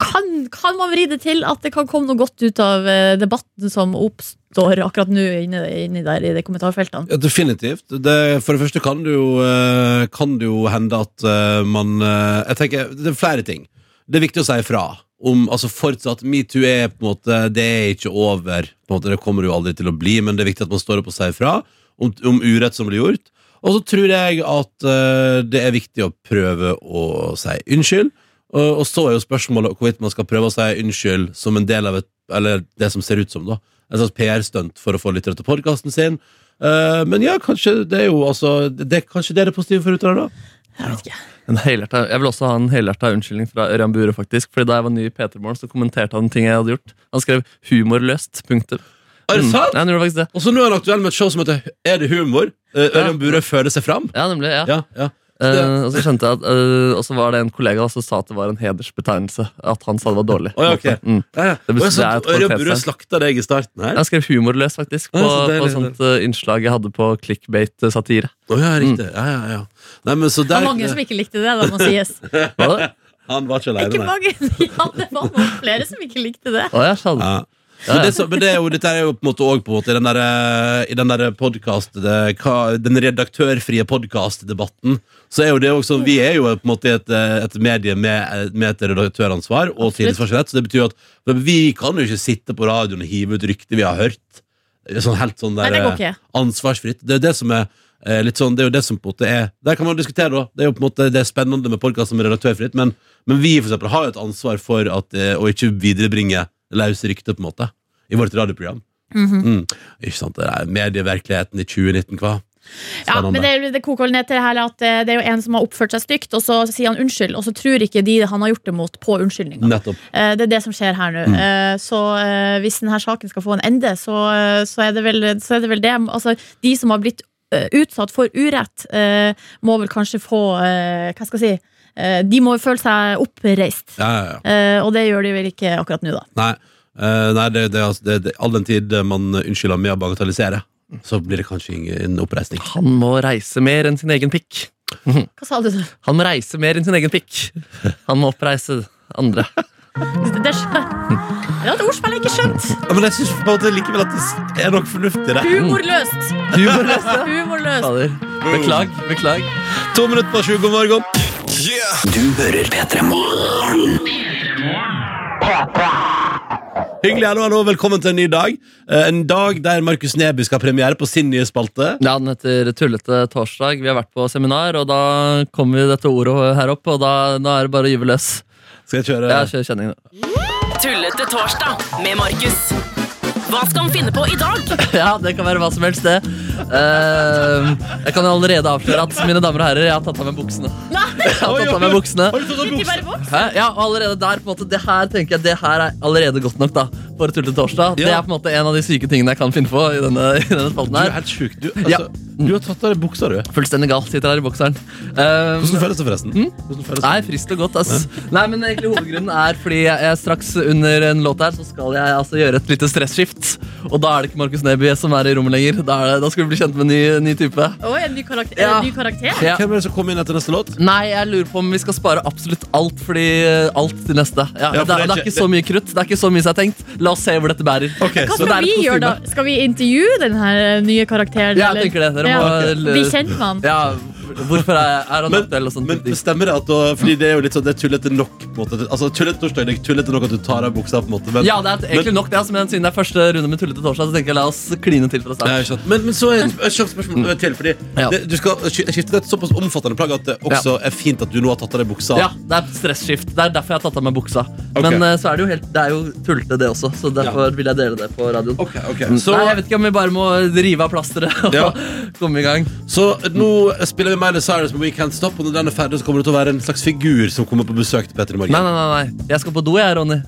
kan, kan man vri det til at det kan komme noe godt ut av eh, debatten som oppstår akkurat nå inni inni der i de kommentarfeltene? Ja, definitivt. Det, for det første kan det jo, eh, kan det jo hende at eh, man eh, Jeg tenker, Det er flere ting. Det er viktig å si ifra. Om, altså fortsatt, Metoo er på en måte Det er ikke over. På en måte, det kommer det jo aldri til å bli, men det er viktig at man står opp og sier ifra om, om urett som blir gjort. Og så tror jeg at eh, det er viktig å prøve å si unnskyld. Og, og så er jo spørsmålet hvorvidt man skal prøve å si unnskyld som en del av et Eller det som ser ut som, da. En slags PR-stunt for å få lyttere til podkasten sin. Eh, men ja, kanskje det er jo altså det, det- Kanskje det er det positive for utøverne, da? Jeg vet ikke. En helhjerta, jeg vil også ha en helhjerta unnskyldning fra Ørjan Bure, faktisk. Fordi da jeg var ny i P3 Morgen, så kommenterte han ting jeg hadde gjort. Han skrev 'humorløst'. Punktum. Er det Mm. sant? Ja, han gjorde faktisk det. Og så nå er han aktuell med et show som heter Er det humor? Eh, Ørjan Burøe føler seg fram. Ja, nemlig. Ja. Ja, ja. Eh, og så skjønte jeg at eh, Og så var det en kollega som sa at det var en hedersbetegnelse. At han sa det var dårlig. Å, ja, ok. mm. ja, ja. Og Det jeg betyr- sa at det er et Ørjan kvalitets- Burøe slakta deg i starten her. Jeg skrev 'humorløs', faktisk, på, Ja, så på deilig, et sånt eh, innslag jeg hadde på clickbait-satire. Å ja, riktig. Mm. Ja, ja, ja. Nei, men så Det der var mange som ikke likte det, det må sies. Var det? Han var ikke Ikke aleine, nei. mange, [laughs] ja, det var noen flere som ikke likte det. Å, ja, sånn. Ja. Ja, Men, ja. det, som- men det er jo, dette er jo på en måte òg på en måte i den der, eh, i den der podcast, det, hva, den redaktørfrie podkastdebatten, så er jo det også Vi er jo på en måte et, eh, et medie med, eh, med et redaktøransvar og tillitsvarsomhet, så det betyr jo at men vi kan jo ikke sitte på radioen og hive ut rykter vi har hørt. Det er Sånn helt sånn der Nei, det går ikke. eh, ansvarsfritt. Det er det som er eh, litt sånn, det er jo det som på en måte er Der kan man diskutere, da. Det er jo på en måte det er spennende med podkast som er redaktørfritt, men, men vi for eksempel, har jo et ansvar for at, eh, å ikke viderebringe løse rykter, på en måte, i vårt radioprogram. Mhm. Mm. Ikke sant, det er medieverkeligheten i 2019, hva? Ja, Spennende. men det, er- det koker vel ned til det her at eh, det er jo en som har oppført seg stygt, og så sier han unnskyld, og så tror ikke de han har gjort det mot, på unnskyldninga. Nettopp. Eh, Det er det som skjer her Mm. nå. Eh, Så eh, hvis denne saken skal få en ende, så, eh, så, er, det vel, så er det vel det. Altså, de som har blitt eh, utsatt for urett, eh, må vel kanskje få eh, Hva skal jeg si? Eh, De må jo føle seg oppreist. Ja, ja, ja. Eh, Og det gjør de vel ikke akkurat nå, da. Nei, eh, nei det, det, er altså- det, det, all den tid man unnskylder med å bagatellisere, så blir det kanskje ingen- en oppreisning. Han må reise mer enn sin egen pikk. Hva sa du? [laughs] Han må reise mer enn sin egen pikk. Han må oppreise andre. Det, det, skjø- det var et ordspill jeg ikke skjønte. Ja, men jeg syns på en måte likevel at det er noe fornuftig i det. Humorløst. Humorløst. [laughs] Humorløst. Fader. Beklag, beklag. To minutter på sju, god morgen. Hyggelig, hallo, hallo, velkommen til en ny dag. Eh, En dag der Markus Neby skal ha premiere på sin nye spalte. Ja, Den heter Tullete torsdag. Vi har vært på seminar, og da kom vi dette ordet her opp, og da, nå er det bare å gyve løs. Skal jeg kjøre Jeg kjører kjenning nå. Tullete torsdag med Markus. Hva skal han finne på i dag? [laughs] Ja, det kan være hva som helst, det. Eh, jeg kan jo allerede avsløre at mine damer og herrer, jeg har tatt av meg buksene. Nei, Jeg har tatt av meg buksene. Har du tatt av ikke buksene? bare voks. Hæ? Ja, og allerede der, på en måte, det her tenker jeg, det her er allerede godt nok da for Tullete torsdag. Ja. Det er på en måte en av de syke tingene jeg kan finne på i denne, i denne spalten Du er her. helt sjuk. Du, Ja. altså, du har tatt av deg buksa, du. Fullstendig gal, sitter her i bokseren. Eh, Hvordan føles det, forresten? Hvordan føles det? Nei, friskt og godt, ass. Nei, men egentlig hovedgrunnen er fordi jeg, jeg straks under en låt her, så skal jeg altså gjøre et lite stresskift. Og da er det ikke Markus Neby som er i rommet lenger. Da, er det, da skal vi bli kjent med en ny, ny type. Oi, en ny karakter. Ja. En ny karakter. Ja. Mm, Hvem er det som kommer inn etter neste låt? Nei, jeg lurer på om vi skal spare absolutt alt Fordi eh, alt til neste. Ja, Ja, for det, det er, er det er ikke- ikke så mye krutt. Det er ikke så mye som er tenkt. La oss se hvor dette bærer. Ok, Hva så det skal er vi et gjøre da? kostyme. Skal vi intervjue den her eh, nye karakteren? Ja, eller? jeg tenker det. Dere Ja. må Bli kjent med han. Ja, hvorfor er, er han Men, aktuell og sånt? men stemmer det at du, Fordi det er jo litt sånn Det er tullete nok. På en måte. Altså, tullete torsdag det er tullete nok at du tar av buksa. på en måte men, ja, det er egentlig nok det, altså, men siden det er første runde med Tullete torsdag, så tenker jeg la oss kline til fra Nei, start. ikke sant. men, men så er et kjapt spørsmål til. Fordi Mm. Ja. det, Du skal sky- skifte til et såpass omfattende plagg at det også er fint at du nå har tatt av deg buksa. Ja, det er stressskift. Det er derfor jeg har tatt av meg buksa. Ok. Men eh, så er det jo helt Det er jo tullete, det også, så derfor vil jeg dele det på radioen. Ok, ok Så, Mm. Nei, jeg vet ikke om vi bare må rive av plasteret og [laughs] Ja. komme i gang. så nå spiller vi Miley Cyrus med We Can't Stop, og når den er ferdig, så kommer det til å være en slags figur som kommer på besøk til Petter i Nei, morgen. nei, nei, nei. Jeg skal på do, jeg, Ronny.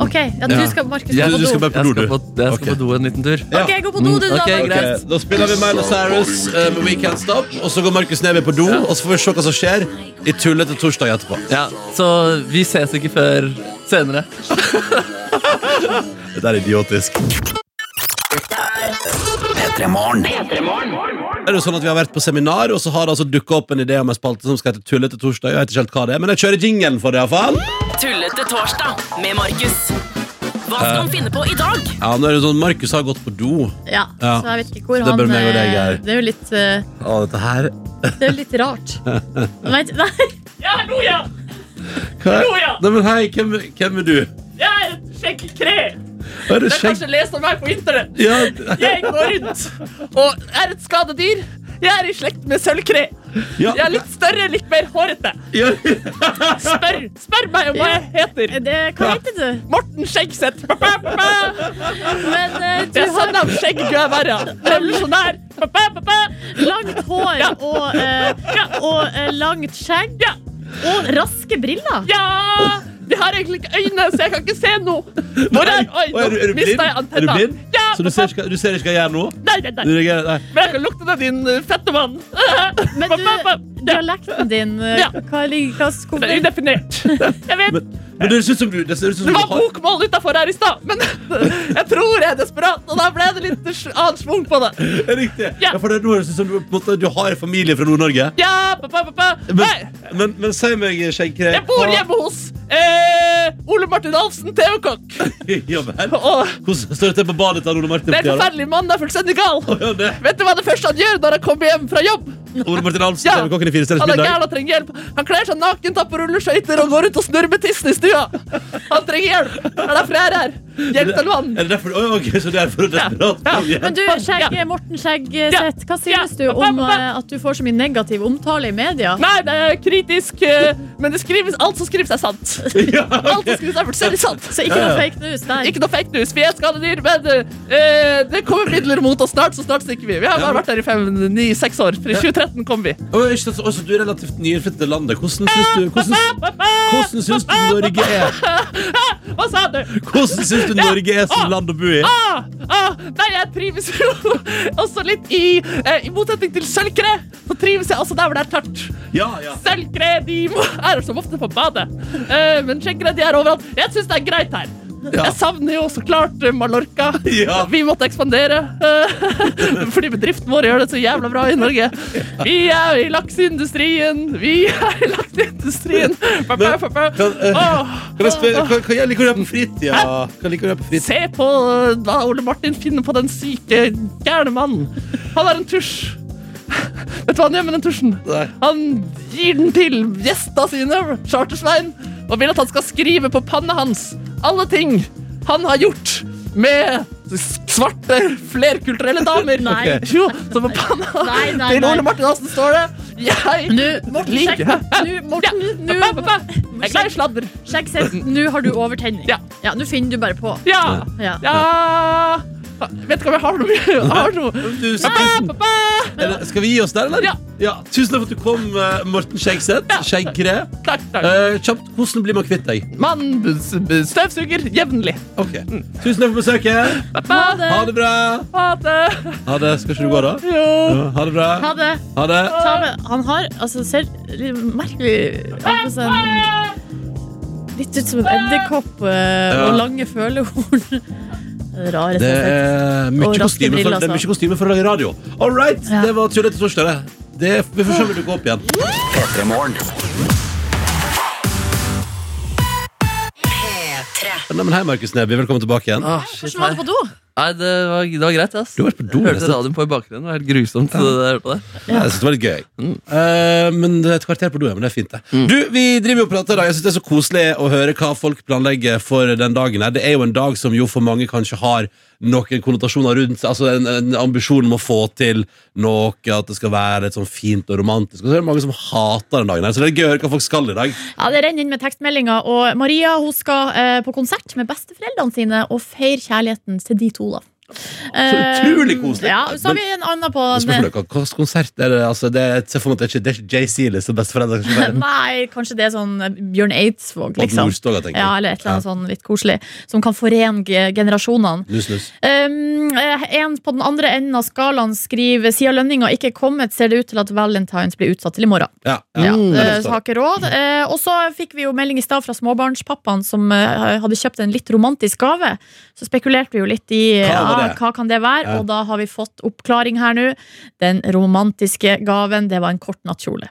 Ok, ja, du skal, Markus, Ja, gå du skal på do. bare på do, du. Jeg skal på, jeg skal Ok. på do en liten tur. Ja. Ok, gå på do, du, Mm, da. ok, Markus. greit. Ok, Da spiller vi Miley Cyrus eh, med We Can't Stop, og så går Markus Neby på do, og så får vi se hva som skjer i tullete torsdag etterpå. Ja, Så vi ses ikke før senere. Dette er idiotisk. Er det sånn at Vi har vært på seminar, og så har det altså dukka opp en idé om en spalte som skal hete Tullete torsdag. Jeg vet ikke helt hva det er, men jeg kjører jingelen for det. i hvert fall Tullete torsdag med Markus. Hva skal han finne på i dag? Ja, nå er det sånn Markus har gått på do. Ja, Ja. så jeg vet ikke hvor Så det han bør meg og deg eh, her. Det er jo litt, eh, Å, dette her det er jo litt rart. [laughs] Vent, nei, Jeg er god, ja! hva er? Jo, ja. Nei, men hei, hvem, hvem er du? Jeg er et skikkelig kre. Er du Dere har skjegg? kanskje lest om meg på internett. Ja, Jeg går rundt og er et skadedyr. Jeg er i slekt med sølvkre. Ja. Jeg er litt større, litt mer hårete. Ja. Spør, spør meg om hva jeg heter. Det, hva heter du? Morten Skjeggseth. Det Men eh, du er har sånn av skjegg du er sånn verre. Revolusjonær. langt hår og, eh, og eh, langt skjegg. Ja. Og raske briller. Ja! Vi har egentlig ikke øyne, så jeg kan ikke se noe. Hvor er Oi, Å, er, du- er du nå blind? mista jeg Er du antenna. blind? Ja, Så du ser, ikke, hva- du ser ikke hva jeg gjør nå? Nei, nei, Du nei. reagerer, nei. Men jeg kan lukte den, din eh, fette mann. Men du, dialekten din, eh, Ja. hva ligger hva, hvor- Den [laughs] er udefinert. Jeg vet, Men det ser ut som du, det ser ut som det du var har bokmål utafor her i stad, men [laughs] jeg tror jeg er desperat, og da ble det litt sj- annen schwung på det. [laughs] Ja, Riktig. Ja. Ja, for det, nå høres det ut som du, på en måte, du har en familie fra Nord-Norge. Ja, pa, pa, pa, pa. Nei, Men, men, men si meg, Skjeggkre jeg bor hjemme hos eh, Ole Martin Alfsen, [laughs] TV-kokk. Ja vel. Og Hvordan står det til på badet til Ole Martin? det for tida, er en da? forferdelig mann, det er fullstendig gal. [laughs] Ja, det. Vet du hva det første han gjør når han kommer hjem fra jobb? Ole Martin Alfsen, Ja. TV-kokken i Fire stjerners Han er middag. gæren og trenger hjelp. Han kler seg naken, tar på rulleskøyter og går ut og snurrer med tissen i stua. Han trenger hjelp. Det er derfor jeg er her. Hjelp til mannen. Er det derfor Oi, ok, Så det er for å desperat kom igjen. Men du, skjegg, Morten Skjeggseth, hva Ja. synes du om eh, at du får så mye negativ omtale i media? Nei, det er kritisk, eh, men det skrives, alt som skrives, er sant. Ja, [laughs] Alt som skrives, er fullstendig sant. Så ikke noe fake news der. Ikke noe fake news. Vi er skadedyr, men eh, det kommer midler mot oss snart, så snart stikker vi. Vi har bare vært her i fem, ni, seks år. Fra 2013 kom vi. Oi, ikke sant, så- også, du er relativt nyinnflyttet til landet. Hvordan syns du, hvordan, hvordan syns du Norge er Hva sa du? Hvordan syns du Norge er som land å bo i? Ah, ah, nei, jeg trives jo [laughs] også litt i eh, I motsetning til sølvkre, så trives jeg også der hvor det er tørt. Ja, ja. Sølvkre de må, er som ofte på badet, eh, men sjekkere de er overalt. Jeg syns det er greit her. Ja. Jeg savner jo så klart eh, Mallorca. Ja. Vi måtte ekspandere eh, [laughs] fordi bedriften vår gjør det så jævla bra i Norge. Vi er i lakseindustrien, vi er i lakseindustrien. Pa, pa, pa, pa. Kan, eh, Åh, kan jeg spørre, hva, hva liker du å gjøre på fritida? Hva liker du å gjøre på fritida? Se på eh, hva Ole Martin finner på den syke, gærne mannen. Han har en tusj. [laughs] Vet du hva han gjør med den tusjen? Nei. Han gir den til gjesta sine, Chartersveien, og vil at han skal skrive på panna hans alle ting han har gjort med s- svarte, flerkulturelle damer. [laughs] Nei. Jo, så på panna Nei, nei, til nei. Ole Martin Hansen står det Jeg Nå, Morten liker Skjegg, nå, Morten, nå, Pappa, pappa, Jeg er glad i sladder. Skjeggseth, nå har du overtenning. Ja. Ja, nå finner du bare på. Ja. Ja. ja. Vet ikke om jeg har noe. Jeg har noe. Du, så tusen, er det- skal vi gi oss der, eller? Ja. Tusen takk for at du kom, eh, Morten Skjeggseth. Ja. Skjeggkre. Takk, takk. Eh, kjapt, hvordan blir man kvitt deg? Man b- s- b- støvsuger jevnlig. Ok. Mm. Tusen takk for besøket. Ha det! Ha det bra. Ha det! Ha det. Skal ikke du gå, da? Jo. Ja, Ha det bra. Ha det. Ha det. Ta med. Han har altså ser litt merkelig altså, sånn- Litt ut som en edderkopp eh, Ja. og lange følehorn. [laughs] Rare Det sett. er mye Og raske kostyme for, briller, det er altså. mye kostyme for å lage radio. All right, Ja. det var tullete torsdag, det. det. Vi får se om det dukker opp igjen. Nei, men hei, Markus Neby. Velkommen tilbake igjen. Ah, shit, Hvordan var det på do? Nei, det var, det var greit, ass. Du har vært på do, Jeg hørte nesten. radioen på i bakgrunnen. Det var helt grusomt. det der jeg hørte på det. Jeg synes det var litt gøy. Mm. Eh, men det er et kvarter på do, ja, men det er fint, det. Du, vi driver jo og prater i dag. Jeg synes det er så koselig å høre hva folk planlegger for den dagen her. Det er jo en dag som jo for mange kanskje har noen konnotasjoner rundt seg. Altså en, en ambisjon om å få til noe, at det skal være litt sånn fint og romantisk. Og så er det mange som hater den dagen her, så det er gøy å høre hva folk skal i dag. Ja, Det renner inn med tekstmeldinger. Og Maria hun skal eh, på konsert med besteforeldrene sine og feire kjærligheten til de to. da Så utrolig Eh, koselig. Ja, Så har vi en annen på Spørsmålet er hva slags konsert er det? Altså, det se for meg at det er ikke, det er ikke JC, liksom, besteforeldre. som [laughs] er- Nei, kanskje det er sånn Bjørn Eidsvåg, Odd liksom. Nordstoga, tenker jeg. Ja, eller et eller annet sånn litt koselig. Som kan forene ge- generasjonene. Nuss, nuss. Um, eh, en på den andre enden av skalaen skriver Siden lønninga ikke er kommet, ser det ut til at Valentine's blir utsatt til i morgen. Ja, Ja, ja. eh, så har ikke råd. Eh, Og så fikk vi jo melding i stad fra småbarnspappaen som eh, hadde kjøpt en litt romantisk gave. Så spekulerte vi jo litt i eh, Hva var ah, det? hva kan det være, Ja. og da har vi fått oppklaring her nå. Den romantiske gaven, det var en kort nattkjole.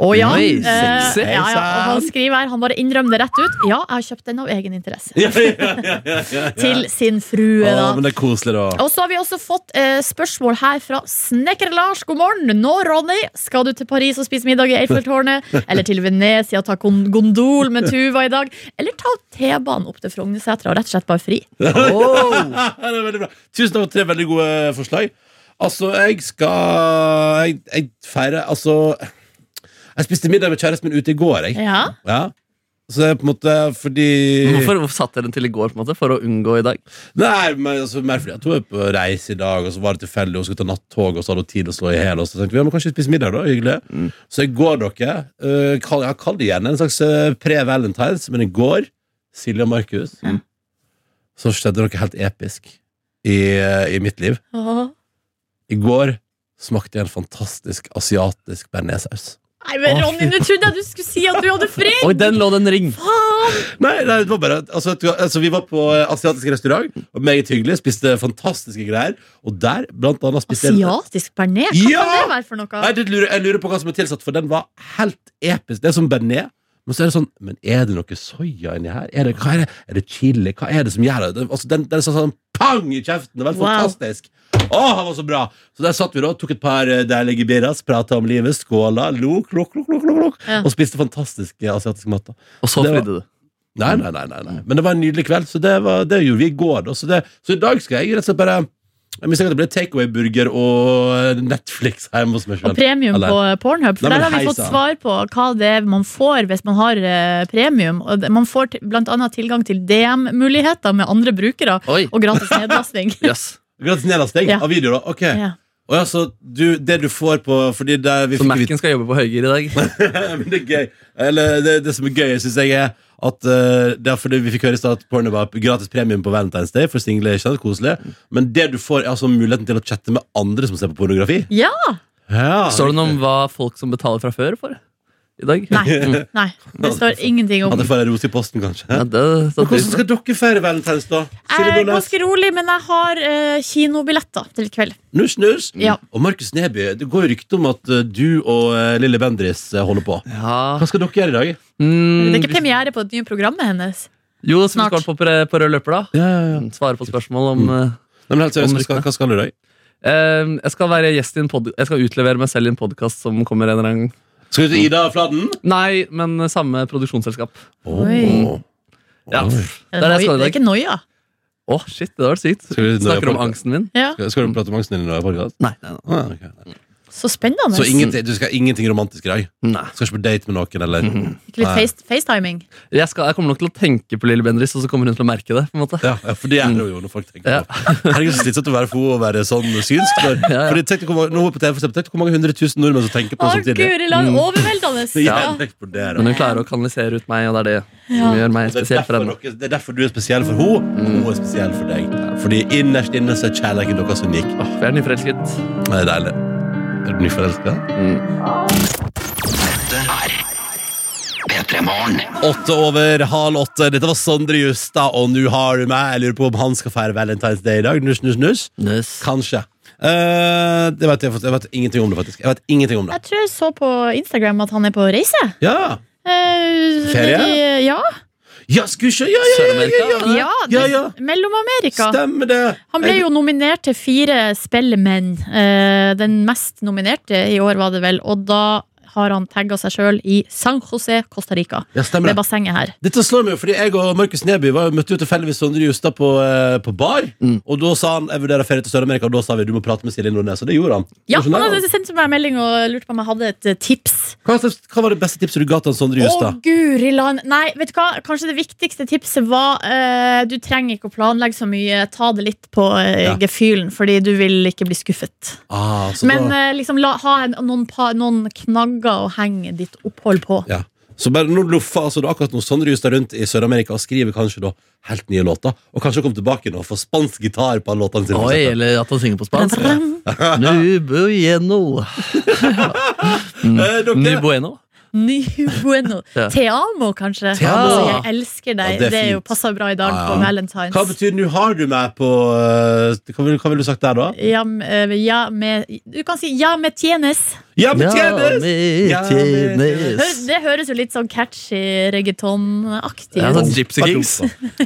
Å ja, Oi, eh, sexy. ja, ja. Og han skriver her, han bare innrømmer det rett ut. Ja, jeg har kjøpt den av egen interesse. Ja, ja, ja, ja, ja. Til sin frue, da. Å, men det er koselig, da. [laughs] Og så har vi også fått eh, spørsmål her fra Snekker-Lars. God morgen. Nå, Ronny, skal du til Paris og spise middag i [laughs] Eiffeltårnet? Eller til Venezia og ta kon- gondol med Tuva i dag? Eller ta T-banen opp til Frognersetra og rett og slett bare fri? Ja, det er veldig bra. Tusen takk for tre veldig gode eh, forslag. Altså, jeg skal Jeg, jeg feirer Altså Jeg spiste middag med kjæresten min ute i går, jeg. Ja. Ja. Så det er på en måte fordi [laughs] Hvorfor, hvorfor satt dere den til i går på en måte, for å unngå i dag? Nei, men altså, mer fordi at hun er på reise i dag, og så var det tilfeldig, hun skulle ta nattog, og så hadde hun tid å slå i hjel, og så tenkte vi ja, men kanskje vi spiser middag, da. Hyggelig. Så i går, dere eh, kall, ja, kall det igjen en slags eh, pre-valentines, men i går, Silje og Markus, så skjedde noe helt episk i, eh, i mitt liv. Åh. I går smakte jeg en fantastisk asiatisk bearnéssaus. Nei, men Ronny, nå trodde jeg du skulle si at du hadde fri! Oi, den lå det en ring! Nei, nei, det var bare altså, vet du hva, altså, Vi var på eh, asiatisk restaurant, og meget hyggelig, spiste fantastiske greier, og der, blant annet, spiste jeg- Asiatisk bearnés? Hva Ja! kan det være for noe? Nei, det lurer, jeg lurer på hva som er tilsatt, for den var helt episk. Det er som bearnés. Men så er det sånn Men er det noe soya inni her? Er det, hva er det? Er det chili? Hva er det som gjør det? det altså, den, den er sånn, sånn pang i kjeften. Det var helt Wow. fantastisk. Å, han var så bra! Så der satt vi da, tok et par eh, deilige birras, prata om livet, skåla, lo, klok, klok, klok, klok, klok, Ja. og spiste fantastisk eh, asiatisk mat. da. Og så Det var- flydde du. Nei, nei, nei, nei, nei. Men det var en nydelig kveld, så det, var, det gjorde vi i går. Da. Så, det, så i dag skal jeg rett og slett bare Jeg mistenker at det blir takeaway-burger og eh, Netflix hjemme hos Og meg sjøl. premium Eller- på eh, Pornhub. For Nei, men der har vi hei fått sann. svar på hva det er man får hvis man har eh, premium. Og det- Man får til- blant annet tilgang til DM-muligheter med andre brukere Oi, [laughs] og gratis nedlastning. jøss. Gratis nedlasting Ja. av videoer, da? Ok. ja. Og ja, så du, det du får på Fordi det, vi Så fikk [laughs] Mac-en skal jobbe på høygir i dag. vite Men det er gøy. Eller det, det som er gøy, syns jeg, er at eh, det er fordi vi fikk høre i stad at porno var gratis premium på Valentine's Day for single. Ikke sant? Koselig. Men det du får, er altså muligheten til å chatte med andre som ser på pornografi. Ja. Ja. Står det noe om hva folk som betaler fra før, for? I dag? Mm. Nei. Nei. Det står ingenting om At jeg får en rose i posten, kanskje. Ja, det, Men så hvordan skal dere feire Valentine's, da? Silje Eh, Jeg er Nordnes? ganske rolig, men jeg har eh, kinobilletter til i kveld. Nus, nus. Ja. Og Markus Neby, det går jo rykte om at eh, du og eh, Lille Bendris eh, holder på. ja. Hva skal dere gjøre i dag? Mm, Det er ikke vi- premiere på det nye programmet hennes. Jo, så vi snart. skal på, pre- på rød løper, da. Ja, ja, ja. Svare på spørsmål om Mm. eh, Nei, men helt seriøst, hva skal- hva skal du i dag? eh, Jeg skal være gjest i en pod Jeg skal utlevere meg selv i en podkast som kommer en eller annen gang. Skal du til Ida Fladen? Nei, men eh, samme produksjonsselskap. Oi. Ja, Oi. pff, Er det er det jeg noi- skal det i er dag. ikke noia. Å, shit, det var sykt. Skal vi- Snakker om Nei, angsten min? Ja. Skal, skal du prate om angsten din i dag? Borghild? Nei. nei, nei. Ah, ok. Så spennende. Så ingenting, du skal ingenting romantisk i dag? nei. Skal ikke på date med noen, eller? Ikke litt Nei. face, facetiming. Jeg, skal, jeg kommer nok til å tenke på Lille Bendriss, og så kommer hun til å merke det. på en måte Ja, ja, for det er det jo når folk tenker Ja. på Herregud, så slitsomt å være for henne og være sånn synsk. For, ja. fordi tenk deg hvor mange, nå på TV, for eksempel, tenk deg hvor mange hundre tusen nordmenn sånn som tenker på Å, det Mm. samtidig. guri land, overveldende! [laughs] Det Ja. gir vekt på det, da. Men hun klarer å kanalisere ut meg, og det er det Ja. som gjør meg Og Det er, spesiell for derfor henne. dere, det er derfor du er spesiell for henne, og hun er spesiell for deg. Fordi innerst inne så er kjærligheten deres unik. Åh, Jeg er nyforelsket. Det er deilig. Er du nyforelska? Åtte over halv åtte. Dette var Sondre Justad, og nå har du meg. Jeg lurer på om han skal feire Valentine's Day i dag. Nuss, nuss, nuss. Kanskje. Eh, det vet jeg, jeg vet ingenting om det, faktisk. Jeg vet ingenting om det. Jeg tror jeg så på Instagram at han er på reise. Ja, Eh, Ferie? nedi- Ja. ja skulle ikke Ja, ja, ja! ja, ja, ja. ja, det- Ja, ja. Mellom-Amerika. Stemmer det. Han ble jo nominert til fire Spellemenn. Eh, Den mest nominerte i år, var det vel. Og da har han tagga seg sjøl i San José, Costa Rica. ja, stemmer Det det. bassenget her. Dette slår meg jo, fordi jeg og Markus Neby var, møtte jo tilfeldigvis Sondre Justad på, eh, på bar. Og da sa han jeg vurderer ferie til Sør-Amerika, og da sa vi du må prate med Silje Nordnes. Og det gjorde han. Ja, Hvordan han er hadde sendt meg en melding og lurte på om jeg hadde et eh, tips. Hva, slags- hva var det beste tipset du ga til han Sondre Å, Justad? guri land! Nei, vet du hva? Kanskje det viktigste tipset var eh, du trenger ikke å planlegge så mye. Ta det litt på eh, Ja. gefühlen, fordi du vil ikke bli skuffet. Ah, så, Men da, eh, liksom, la, ha en, noen, pa, noen knagger å henge ditt opphold på. ja. så bare nå loffer altså, du akkurat nå Sondre Justad rundt i Sør-Amerika og skriver kanskje da helt nye låter. Og kanskje komme tilbake nå og få spansk gitar på alle låtene sine. for Oi, eksempel. eller at han synger på spansk. Bram, Nubu lleno. Eh, dere- Nubu lleno. Ny [laughs] bueno. Ja. Te amo, kanskje. Te amo. Altså, jeg elsker deg. Ja, det er det er jo fint. passer bra i dag Ja, ja. på Valentine's. Hva betyr 'nå har du meg' på eh, Hva ville vil du sagt der, da? ja, m- eh, ja, med, du kan si 'ja, med tjenes'. Ja, men Ja, tjenes! Ja, men tjenes. tjenes. Høres- Det høres jo litt sånn catchy reggaeton-aktig Ja, sånn ut. Gypsy Kings.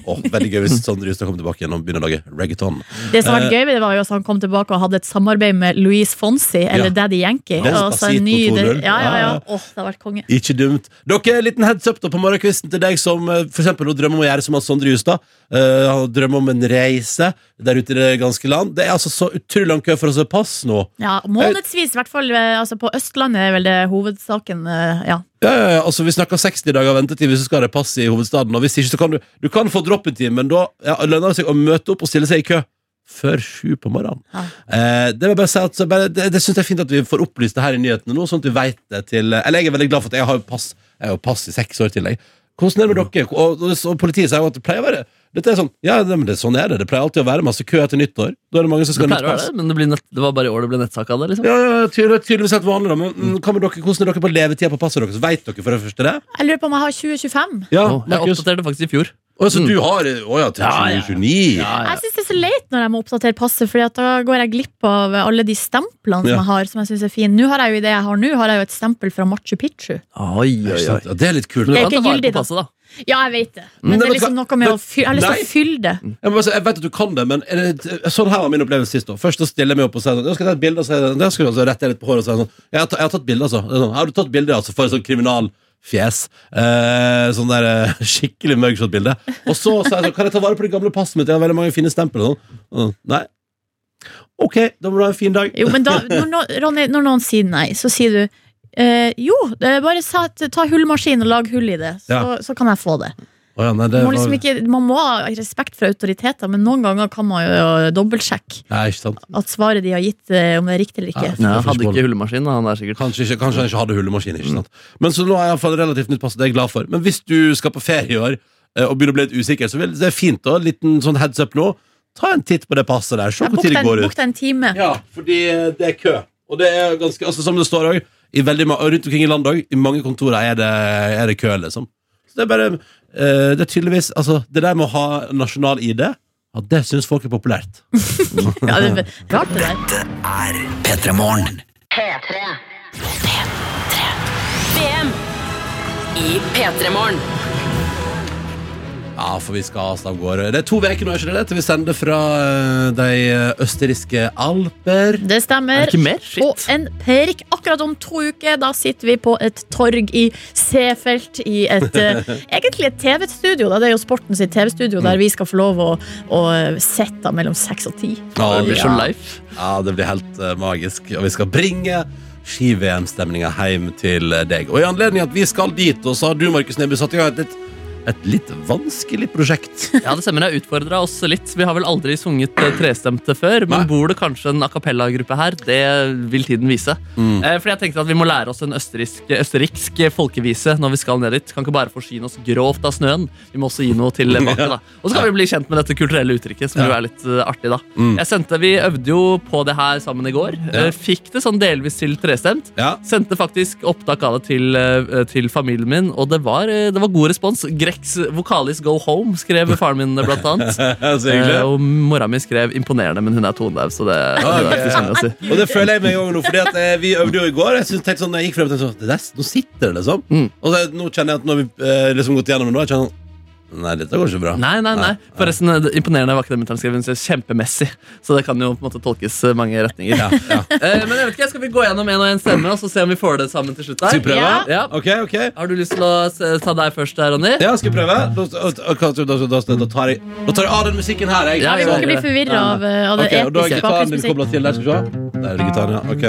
Åh, veldig gøy hvis Sondre Justad kommer tilbake igjen og begynner å lage reggaeton. Det som eh, var gøy, med det var jo at han kom tilbake og hadde et samarbeid med Louise Fonsi, eller Ja. Daddy Yankee. Ja, Og så en Despacito ny, ja, 2.0. ja, ja. Ja, ja. Åh, det har vært konge. Ikke dumt. Dere, liten heads up da på morgenkvisten til deg som eh, for eksempel nå drømmer om å gjøre som han Sondre Justad. Eh, han drømmer om en reise der ute i det ganske land. Det er altså så utrolig lang kø for å se pass nå. Ja, Månedsvis, i hvert fall eh, altså på Østlandet, er vel det hovedsaken. eh, Ja. Ja, ja, ja, altså Vi snakker 60 dager ventetid hvis du skal ha deg pass i hovedstaden. Og hvis ikke, så kan du Du kan få drop-in-tid, men da ja, lønner det seg å møte opp og stille seg i kø før sju på morgenen. Ja. Eh, det vil jeg bare si at så bare, Det, det syns jeg er fint at vi får opplyst det her i nyhetene nå, sånn at vi vet det til Eller jeg er veldig glad for at jeg har jo pass Jeg har jo pass i seks år til, jeg. Hvordan er det Mm. med dere? Og, og, og politiet sier jo at det pleier å være Dette er sånn Ja, nei, men det, sånn er det. Det pleier alltid å være masse kø etter nyttår. Da er det mange som Det skal ha pleier nytt å pass. være det, men det, blir nett, det var bare i år det ble nettsak av det. liksom Ja, ja, ja, tydelig, tydeligvis helt vanlig, da. Men mm, hva med dere, hvordan er dere på levetida på passet deres? Vet dere for det første det? Jeg lurer på om jeg har 2025. Ja, Å, Jeg Markus? oppdaterte faktisk i fjor. Å, så Mm. du har eh, Å ja, til Ja, ja, ja. 2029? Jeg syns det er så leit når jeg må oppdatere passet, Fordi at da går jeg glipp av alle de stemplene Ja. som jeg har. Som jeg synes er fine Nå har jeg jo i det jeg har nå, har jeg jo et stempel fra Machu Picchu. Oi, Ikke oi, oi. sant? Ja, det er litt kult. Men du Det er kan ta ikke vare gyldig, på da. passet, da. Ja, jeg vet det. Men Men det vet er du hva? liksom noe med å fylle Jeg har lyst til Nei. å fylle det. Jeg, må bare si, altså, jeg vet at du kan det, men er det, sånn her var min opplevelse sist. Da. Først så stiller jeg meg opp og sier sånn, «Nå skal jeg ta et bilde, og så er det- da skal jeg altså rette litt på håret og si sånn Jeg har, ta- jeg har tatt bilde, altså. Det er Sånn, har du tatt bilde, altså? For et sånt kriminalfjes. Eh, sånn der eh, [laughs] skikkelig mugshot-bilde. Og så sier jeg sånn Kan jeg ta vare på det gamle passet mitt? Jeg har veldig mange fine stempel og sånn. Og sånn. Nei. Ok, da må du ha en fin dag. Jo, men da, når, no- Ronny, når noen sier nei, så sier du eh, jo, eh, bare sa, ta hullmaskin og lag hull i det, så, Ja. så kan jeg få det. Å ja, nei, det Man må, var- liksom ikke, man må ha respekt for autoriteter, men noen ganger kan man jo dobbeltsjekke Nei, ikke sant. at svaret de har gitt, eh, om det er riktig eller ikke. Ja. Nei, jeg jeg får hadde ikke ikke hullemaskin, da, han der sikkert. Kanskje, ikke, kanskje han ikke hadde hullemaskin. Ikke sant? Men så nå har jeg i hvert fall relativt nytt pass, det er jeg glad for. Men hvis du skal på ferie i år eh, og begynner å bli litt usikker, så vil, det er fint da, en liten sånn heads up nå. Ta en titt på det passet der, se Jeg hvor tid bokte det en, går ut. bokte en time. Ja, fordi eh, det er kø. Og det er ganske, altså som det står òg, rundt omkring i landet òg, i mange kontorer er det, er det kø, liksom. Så det er bare eh, Det er tydeligvis Altså, det der med å ha nasjonal ID, ja, det syns folk er populært. Ja, det er rart det der. VM i P3 Morgen. Ja, for vi skal altså av gårde. Det er to uker nå, er ikke det det? Til vi sender fra eh, de østerrikske alper. Det stemmer. ikke mer? Shit. Og en prikk akkurat om to uker. Da sitter vi på et torg i Seefeld, i et [laughs] eh, egentlig et TV-studio. da. Det er jo sporten sitt TV-studio, Mm. der vi skal få lov å, å sette mellom seks og ti. Ja, Det blir så ja. life. ja, det blir helt eh, magisk. Og vi skal bringe ski-VM-stemninga hjem til eh, deg. Og i anledning at vi skal dit, og så har du, Markus Neby, satt i gang et litt, et litt vanskelig prosjekt. Ja, det stemmer. Jeg utfordra oss litt. Vi har vel aldri sunget eh, trestemte før, men Nei. bor det kanskje en a cappella-gruppe her? Det vil tiden vise. Mm. Eh, fordi jeg tenkte at vi må lære oss en østerriksk, østerriksk folkevise når vi skal ned dit. Kan ikke bare forsyne oss grovt av snøen. Vi må også gi noe [laughs] til bakke, da. Og så kan vi bli kjent med dette kulturelle uttrykket, som jo er litt eh, artig, da. Mm. Jeg sendte, Vi øvde jo på det her sammen i går. Ja. Eh, Fikk det sånn delvis til trestemt. Ja. Sendte faktisk opptak av det til, eh, til familien min, og det var, eh, det var god respons. Greks vokalist Go Home skrev faren min, eh, blant [laughs] [laughs] annet. så Eh, hyggelig. og mora mi skrev 'imponerende', men hun er tonedaud, så det, det er ikke sånn, så mye å si. Og det føler jeg med en gang nå, fordi at eh, vi øvde jo i går. Jeg synes, tenkte sånn, jeg gikk frem til sånn, det der, Nå sitter det, liksom. Mm. Og så, nå kjenner jeg at når vi eh, liksom gått gjennom det nå, jeg kjenner sånn Nei, dette går ikke bra. Nei, nei, nei. Forresten, eh, det imponerende var ikke det mutter'n skrev. Hun skrev 'kjempemessig', så det kan jo på en måte tolkes eh, mange retninger. Ja, ja. Eh, men jeg vet ikke, skal vi gå gjennom en og en stemme, og så se om vi får det sammen til slutt? Skal vi her? prøve? Ja. Ja. Ok, ok Har du lyst til å se- ta deg først, der, Ronny? Ja, skal vi prøve? Da, da, da, da, da, tar jeg, da tar jeg av den musikken her jeg. Ja, Vi må ikke bli forvirra av, eh, av det Ok, og da er episke gitaren din bakgrunnsmusikk. koblet til der, skal vi se Der er det gitaren, ja, ok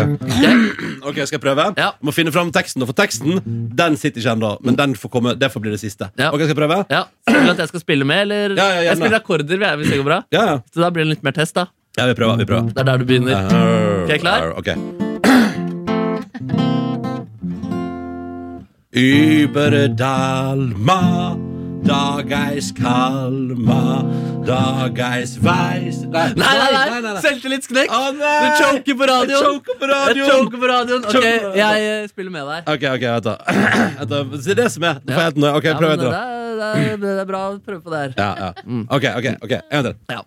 Ok, skal jeg prøve? Ja. Må finne frem teksten, og for teksten, den sitter ikke enda Men den får komme, det får bli det siste Ja. Ok, skal jeg prøve? Ja, Skal du at jeg skal spille med, eller? Ja, ja, gjerne. jeg spiller akkorder, vi er- hvis det går bra. Ja, ja, Så da blir det litt mer test, da. ja vi prøver, vi prøver Det er der du begynner. Ok, Ok, klar? Oh, Ok [clears throat] Über Dalma Dageis Kalma Dageis Veis Nei, Nei, nei, nei, selvtillitsknekk! Å, Du nei! choker på Jeg radioen! choker på Jeg radioen! choker på radioen. Ok, Ah, Choker på radioen. jeg eh, spiller med deg. Ok, ok, vent da. [clears throat] Vent da. Det er det som er. Nå får jeg helt nøye. Ok, Ja, prøv men etter. det, da. er, det, er, det er bra å prøve på det her. Ja, ja. Ok, ok, ok. En gang til. Ja.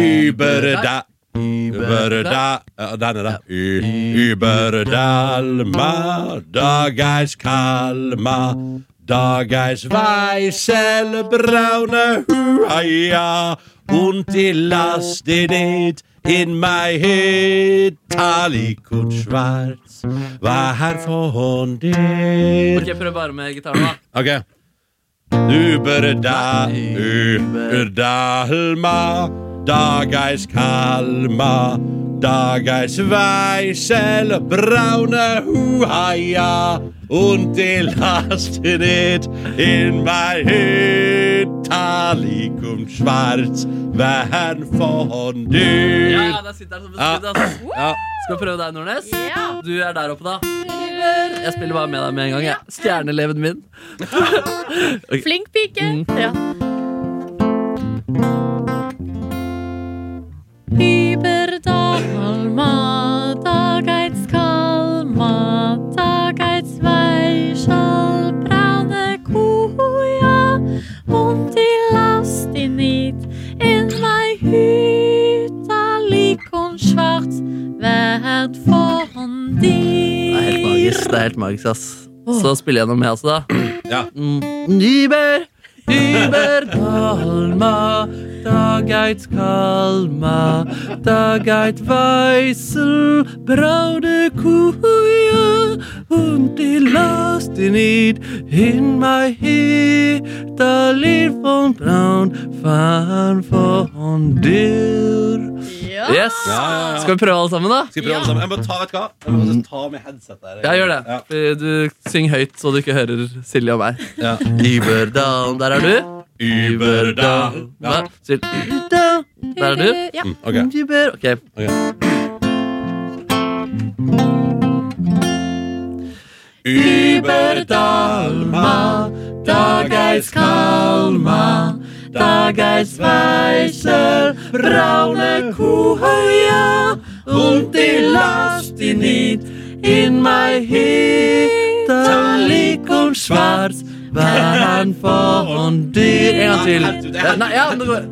Überda. Überda. Ja, Der nede. Überdalma, dageis kalma, dageis weiselbraune huaia, und i lasti dit, in my head Talikotschwarz Hva her for hånden Ok, prøv bare med gitaren, da. Ok Über da, über Dalma Dageis Kalma Dageis Weisel Braune Huhaia Und die lasten it In my head Talikum Schwarz Wern von Ja, dir der sitter den som beskudd, ass. Ja. Skal vi prøve deg, Nordnes? Ja. Du er der oppe, da. Jeg spiller bare med deg med en gang. jeg. Stjerneleven min. Flink pike. Mm. Ja. Über Dalma, Dageits Kalma, Dageits Weichel, braune Kuja, und die Last in it, in my Hüta, lik und schwarz, werd von dir. Det er helt magisk. det er helt magisk, ass. Så spiller jeg noe med, altså, da. Ja. Mm. Über, über Dalma, Dageit Kalma, Dageit Weissel, braune Kuja, und die Last in it, in my head, da liv von braun, fan von dir. Ja. Yes! Ja, ja, ja. Skal vi prøve alle sammen, da? Skal vi prøve alle sammen? Jeg må ta, vet du hva? Jeg må faktisk ta med headset der Ja, gjør det. Eh, Ja. Du Syng høyt, så du ikke hører Silje og meg. Ja. Überdalen, der er du. Überdalen. Ja. Sil- Überdalen, Der er du. Ja. Mm, Ok Über- Ok. Über Dalma, Dageis Kalma, Dageis Weiser, braune Kuhøya, und die Last in it, in my heat, Talik und schwarz, Bern von dir. En gang til. Ja, Nei, ja, men det går.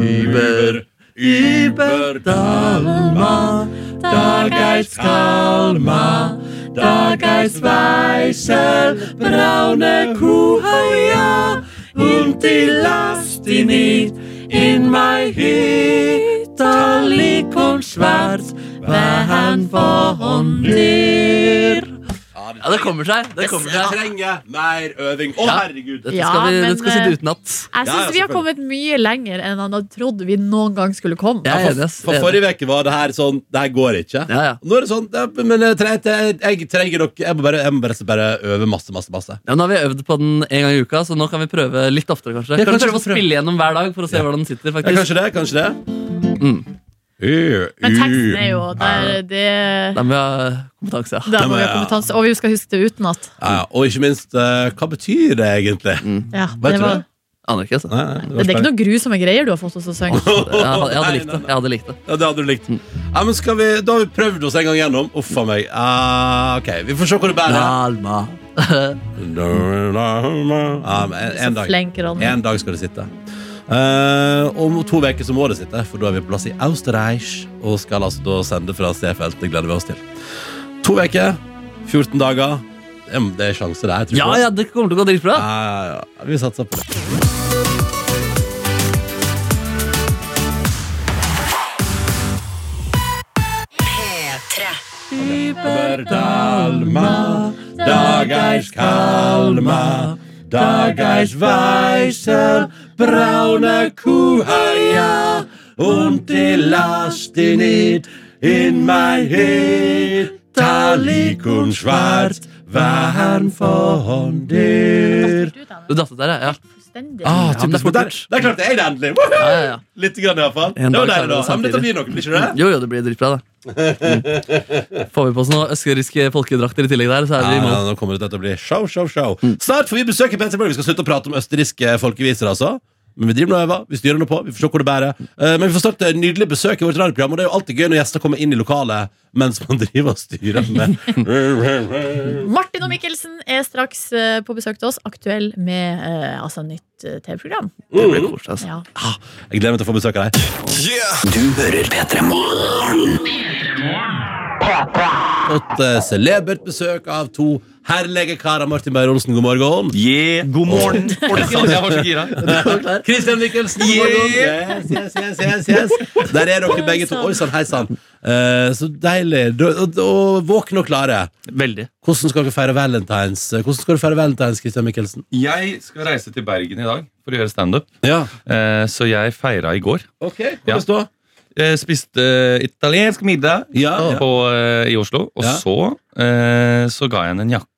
Über, über Dalma, Dageis Kalma, Dageis Weisel, braune Kuhaya, und die Last in it, in my Hütte, lik und schwarz, Bern von dir. Ja, det kommer seg. Det kommer seg. trenger mer øving. Å, herregud! Dette Ja, skal vi, men, dette skal eh, sitte utenat. Jeg Ja, syns vi ja, har selvfølgelig. kommet mye lenger enn han hadde trodd vi noen gang skulle komme. Jeg er enig. ass. For forrige uke var det her sånn Det her går ikke. Ja, ja. Nå er det sånn ja, Men jeg trenger, jeg, jeg trenger dere Jeg må bare, jeg må bare, bare øve masse, masse, masse. Ja, men Nå har vi øvd på den en gang i uka, så nå kan vi prøve litt oftere. kanskje Ja, Kan vi kanskje vi får prøve å prøve. spille gjennom hver dag for å se hvordan den sitter? Ja, faktisk kanskje det? Kanskje det? Mm. Men teksten Mm. er jo der, det, Da må vi ha kompetanse, ja. der må vi ha ja. kompetanse. Og vi skal huske det utenat. ja, ja. Og ikke minst, eh, hva betyr det egentlig? Ja, Vet det, du var, det? Aner ikke, altså. Nei, Mm. nei, det er ikke spennende. noen grusomme greier du har fått oss å synge. Jeg hadde, jeg hadde likt Nei, det. nei, nei. Jeg hadde likt det. Ja, det hadde du likt. Ja, men skal vi, Da har vi prøvd oss en gang gjennom. Uff a meg. Ah, ok, Vi får se hvor det bærer. Dalma. Ja, men en, en dag Flink, Ronny. En dag skal det sitte. Eh, om to uker så må det sitte, for da er vi på plass i Austerreich og skal altså da sende fra C-feltet. Det gleder vi oss til. To uker, 14 dager. Ja, men Det er sjanse, det her. tror Ja, jeg. ja, det kommer til å gå dritbra. Ja, ja, ja. Vi satser på det. Dalma, Dageis Kalma, Dageis Weiser, braune Kuhaya, und die Last in it, in my head, Talik und Schwarz, waren von dir. Du datt ut der, ja. ja. Fullstendig. Ah, Ja, men det er typisk, men fort der, gjort. der klarte jeg det endelig! Woohoo! ja, ja, ja. Litt grann, iallfall. Det En var dag deilig, da. Ja, klarer Men vi det dette blir noe, blir ikke det? Jo, jo, det blir dritbra, [laughs] det. Mm. Får vi på oss noen østerrikske folkedrakter i tillegg der, så er Ja, vi i ja, mål. nå kommer det til å bli show, show, show. Mm. Snart får vi besøk i Petersburg. Vi skal slutte å prate om østerrikske folkeviser, altså. Men vi driver nå og øver, vi styrer nå på, vi får se hvor det bærer. Eh, Men vi får snart et nydelig besøk i vårt radioprogram, og det er jo alltid gøy når gjester kommer inn i lokalet mens man driver og styrer med Ah. Martin og Mikkelsen er straks eh, på besøk til oss, aktuell med eh, altså, nytt eh, TV-program. Det blir koselig, altså. Ja. Jeg gleder meg til å få besøk av deg. Du hører P3 Morgen. Fått eh, celebert besøk av to Herlegekarer Martin Beyer-Olsen, god morgen. Yeah. God morgen! Jeg var så gira. Christian Michelsen, god morgen. Yes, yes, yes, yes, yes. Der er dere begge to. Oi sann, hei sann. Eh, så deilig. Da- Og og våkne og klare. Veldig. Hvordan skal dere feire valentines? Hvordan skal du feire valentines, Christian Michelsen? Jeg skal reise til Bergen i dag for å gjøre standup. Ja, Eh, Så jeg feira i går. ok. Ja. Hvordan da? Eh, Spiste eh, italiensk middag Ja, ja. på, eh, i Oslo. Og Ja. så eh, så ga jeg henne en jakke.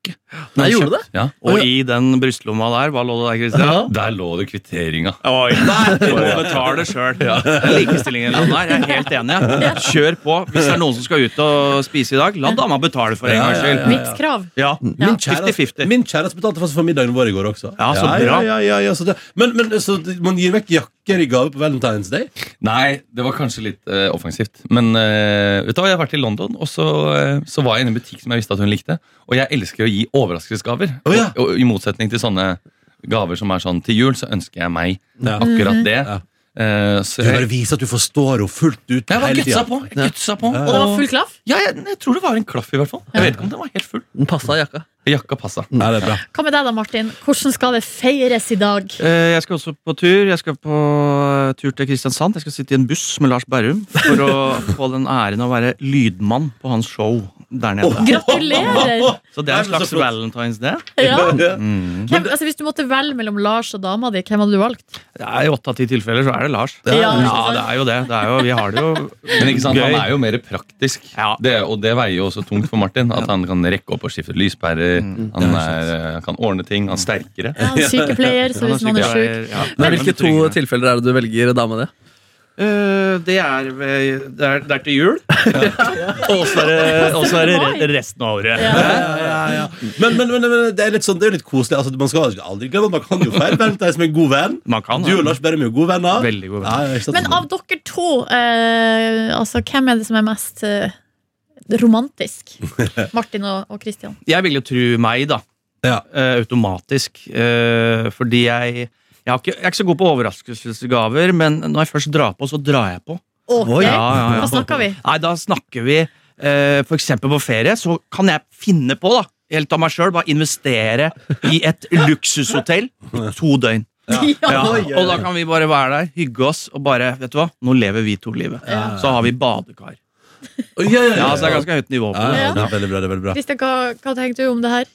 Nei, gjorde du det? Ja. Å, Og i den brystlomma der, hva lå det der, Kristian? Der lå det kvitteringa. [laughs] Oi, du må betale sjøl. Likestillingen i landet her, jeg er helt enig. jeg. Kjør på. Hvis det er noen som skal ut og spise i dag, la dama betale for en Ja, gangs ja, skyld. ja. Mitt krav. Ja. Min kjæreste, 50-50. min kjæreste betalte faktisk for middagen vår i går også. Ja, så ja, bra. ja, ja, ja, så det, men, men så man gir vekk jakker i gave på Valentine's Day? Nei, det var kanskje litt eh, offensivt. Men eh, vet du hva, jeg har vært i London, og så, eh, så var jeg inne i en butikk som jeg visste at hun likte. Og jeg elsker å gi overraskelsesgaver. Å, ja. og, og I motsetning til sånne gaver som er sånn til jul, så ønsker jeg meg Ja. Mhm. akkurat det. Ja. Eh, så Mm. Du bare jeg, viser at du forstår henne fullt ut jeg var hele gutsa tida. på. Jeg gutsa på. Det var Og, full klaff. ja, jeg, jeg tror det var en klaff, i hvert fall. Jeg vet ikke om den var helt full. Den passa i jakka. Jakka passa. Ja, det er bra. Hva med deg da, Martin? Hvordan skal det feires i dag? [laughs] Eh, Jeg skal også på tur. Jeg skal på eh, tur til Kristiansand. Jeg skal sitte i en buss med Lars Berrum for å få den æren å være lydmann på hans show der nede. Gratulerer! Så det er en Nei, men så slags flott. Valentine's Day. [laughs] Ja. Mm. Hvem, altså, hvis du måtte velge mellom Lars og dama di, hvem hadde du valgt? Det er I åtte av ti tilfeller så er det Lars. Ja, ikke sant? det er jo det. det er jo, vi har det jo Men ikke sant, Gøy. han er jo mer praktisk, Ja. det, og det veier jo også tungt for Martin. At han kan rekke opp og skifte lyspærer, han er, eh, kan ordne ting, han er sterkere. Ja, en sykepleier, så hvis man er sjuk. [laughs] Men hvilke to tilfeller er det du velger dame di? Eh, det, er, ved- det, er, det er til jul. Og så [laughs] er det- og så er det re- [laughs] resten av året. Men, men, men, men det er litt sånn, det er jo litt koselig. Altså, man skal aldri glemme at man kan jo feire Valentine's med en god venn. Man kan Du og Lars Berrum er jo gode venner. Veldig god venn. Ja, ja, ikke sant? Men av dere to, eh, altså, hvem er det som er mest eh, romantisk? Martin og, og Christian. Jeg vil jo tro meg, da. Ja. Eh, automatisk. Eh, fordi jeg jeg, har ikke, jeg er ikke så god på overraskelsesgaver, men når jeg først drar på, så drar jeg på. Ok, Ja, ja, ja. hva snakker vi? Nei, da snakker vi eh, for eksempel på ferie, så kan jeg finne på, da, helt av meg sjøl, bare investere i [laughs] et luksushotell i to døgn. Ja, og da kan vi bare være der, hygge oss og bare Vet du hva, nå lever vi to livet. Ja. Så har vi badekar. Oi, ja, ja, ja. Ja, så det er ganske høyt nivå på Ja, det. ja, det er veldig bra. det er veldig bra Christian, hva, hva tenkte du om det her?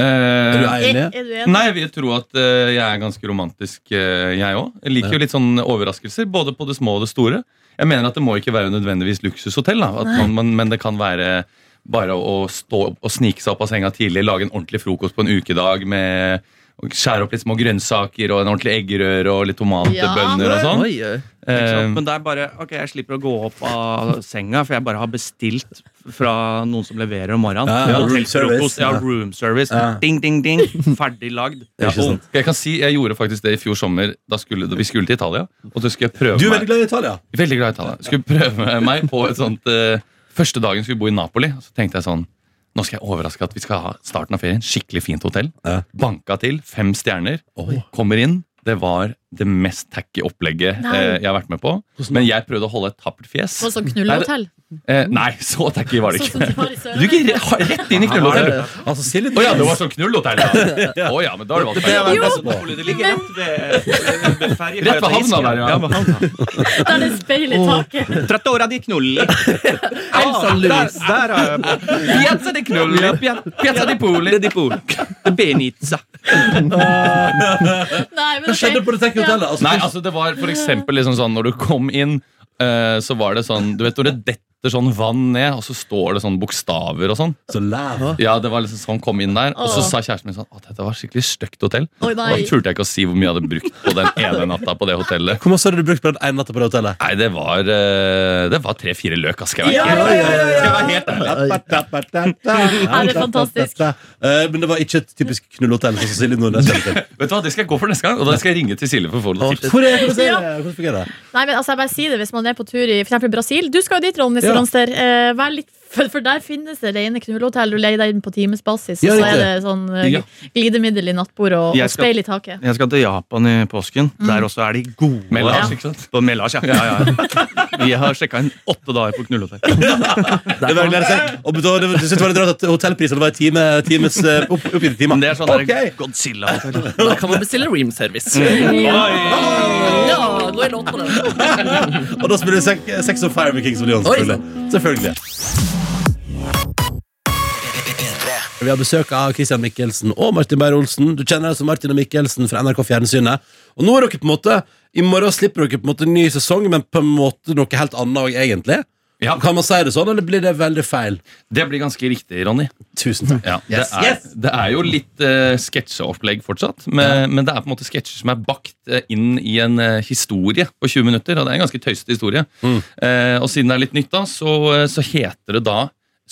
Eh, Er du Er, enig? er du enig? Nei, jeg vil tro at eh, jeg er ganske romantisk, eh, jeg òg. Jeg liker jo litt sånn overraskelser, både på det små og det store. Jeg mener at det må ikke være nødvendigvis luksushotell, da. At man, man, men det kan være bare å stå opp og snike seg opp av senga tidlig, lage en ordentlig frokost på en ukedag med og Skjære opp litt små grønnsaker og en ordentlig eggerøre og litt tomatbønner og sånn. Oi, oi. Ikke sant? Eh, Men det er bare Ok, jeg slipper å gå opp av senga, for jeg bare har bestilt fra noen som leverer om morgenen. Ja, ja, room service. Hotellfrokost, ja, room service. Ja. Ding, ding, ding. Ferdig lagd. Ja, ikke sant? jeg kan si, jeg gjorde faktisk det i fjor sommer, da, skulle, da vi skulle til Italia. Og så skulle jeg prøve Du er meg- veldig glad i Italia. Veldig glad i Italia. Skulle prøve [laughs] meg på et sånt eh, Første dagen skulle vi bo i Napoli. Så tenkte jeg sånn Nå skal jeg overraske at vi skal ha starten av ferien. Skikkelig fint hotell. Ja. Banka til. Fem stjerner. Kommer inn. Det var det mest tacky opplegget Nei. eh, jeg har vært med på. Men jeg prødde å holde et tappert fjes. På sånn knullehotell? Eh, nei, så tacky var det Sånn som de ikke. har i Du Sørlandet? gikk re- rett inn i knullhotellet. Altså, Silje Å ja, det var sånn knullhotell, [laughs] ja. Å ja, men da er det Det er vanskelig. vel- Jo, Napoli, det ligger rett ved, ved ferje- Rett ved havna der, ja. ja. ved havna. der er det speil i taket. [laughs] Trattora di knulli. Elsa Lewis. Der, der er Piazza di knulli. Pia- Piazza di poli. Di poli. Benizza. Nei, men Hva skjedde ok. på det tekke hotellet? Altså, [laughs] Nei, altså det var for eksempel liksom sånn Når du kom inn, eh, så var det sånn Du vet når det detter sånn vann ned, og så står det sånn bokstaver og sånn. Så læv. Ja, det var liksom sånn kom inn der Og så Åh. sa kjæresten min sånn Å, dette var skikkelig støkt hotell. Oi, Og nei. Da turte jeg ikke å si hvor mye jeg hadde brukt på den ene natta på det hotellet. Hvor mye hadde du brukt på den ene natta på det hotellet? Nei, det var eh, Det var tre-fire løk, ass, skal jeg være helt Skal jeg være helt ærlig. Nei, det er fantastisk. Eh, Men det var ikke et typisk knullhotell. sånn som Silje Nordnes kjenner til. Vet du hva, Det skal jeg gå for neste gang, og da skal jeg ringe til Silje for å få noen tips. Hvor er- hvordan er det? Hvordan fungerer det? Nei, men altså, jeg bare sier det hvis man er på tur i for eksempel Brasil. Du skal jo dit, Ronny, så Johanster. Eh, vær litt for, for der finnes det rene knullehotell. Du leier deg inn på timesbasis, Ja, og så riktig. er det sånn eh, Ja. glidemiddel i nattbordet og, Jeg og skal- speil i taket. Jeg skal til Japan i påsken. Der også er de gode. Mellars, ikke sant? På Melas, ja. ja, ja. Vi har sjekka inn åtte dager på knullhotell. Det er bare å glede seg. Og betale- du synes det var litt rart at hotellprisene var i time, times, eh, opp, opp i timen. Men det er sånn der Ok. Godzilla-hotell. Da kan man bestille roomservice. Ja, gå i låt på den. Og da spiller du Sex, sex on Fire med Kings of Leon, selvfølgelig. selvfølgelig. Vi har besøk av Christian Mikkelsen og Martin Beyer-Olsen. Du kjenner deg som Martin og Mikkelsen fra NRK Fjernsynet. Og nå er dere på en måte I morgen slipper dere på en måte en ny sesong, men på en måte noe helt annet òg, egentlig. Ja. Kan man si det sånn, eller blir det veldig feil? Det blir ganske riktig, Ronny. Tusen takk. Ja, det, er, det er jo litt eh, sketsjeopplegg fortsatt, men, men det er på en måte sketsjer som er bakt eh, inn i en eh, historie på 20 minutter. Og det er en ganske tøysete historie. Eh, og siden det er litt nytt, da, så, eh, så heter det da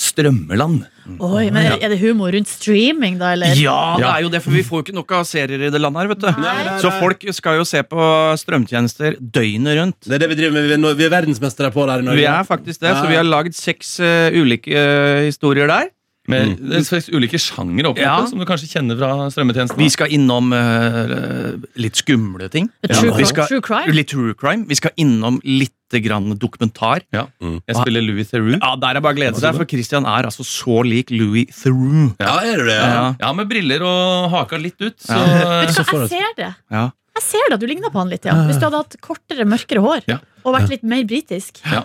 Strømmeland. Oi, men er, er det humor rundt streaming, da, eller? Ja, det er jo det, for vi får jo ikke nok av serier i det landet her, vet du. Nei. Så folk skal jo se på strømtjenester døgnet rundt. Det er det vi driver med. Vi er, nå- vi er verdensmestere på det her i Norge. Vi er faktisk det, så vi har lagd seks eh, ulike eh, historier der. Med det er slags ulike sjangere, opp, Ja. som du kanskje kjenner fra strømmetjenesten. Vi skal innom eh, litt skumle ting. True, Vi crime. skal, True crime? litt true crime. Vi skal innom litt grann dokumentar. Ja. Mm. Jeg spiller Louis Theroux. Ja, Der er bare å glede seg, for Christian er altså så lik Louis Theroux. Ja, er det det? Ja. Ja. Ja, med briller og haka litt ut. Så, Vet [laughs] du så hva, får jeg ser det. Ja. Jeg ser det, at du ligner på han litt, ja. Hvis du hadde hatt kortere, mørkere hår Ja. og vært litt mer britisk. Ja.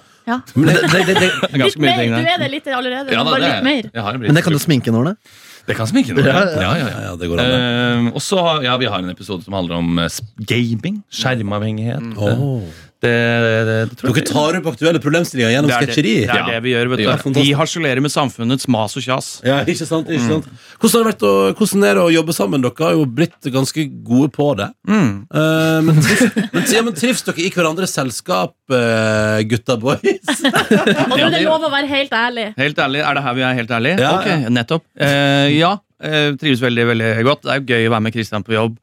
Men det, det, det, det, Det er Litt ganske mye mer, ting du der. er det litt allerede, ja, men da, bare det litt er- mer. jeg har en Men det kan du briller. sminke nålene. Det kan sminke noe. Ja, ja, ja. ja, det går an. det. Eh, og så har- ja, vi har en episode som handler om eh, sp- gaming. Skjermavhengighet. Eh, Åh. Det, det, det, det tror Dere jeg. tar opp aktuelle problemstillinger gjennom Det er det, sketsjeri. det, er det vi gjør, Det er vet du. fantastisk. Vi harselerer med samfunnets mas og kjas. Ja, [laughs] ikke sant, ikke sant. Hvordan, har det vært å, hvordan er det å jobbe sammen? Dere har jo blitt ganske gode på det. Eh, men, trives, men, ja, men trives dere i hverandres selskap, eh, gutta boys? Og nå er det lov å være helt ærlig. Helt ærlig, Er det her vi er helt ærlige? Ja, ok, ja. nettopp. Eh, ja, eh, trives veldig veldig godt. Det er jo gøy å være med Kristian på jobb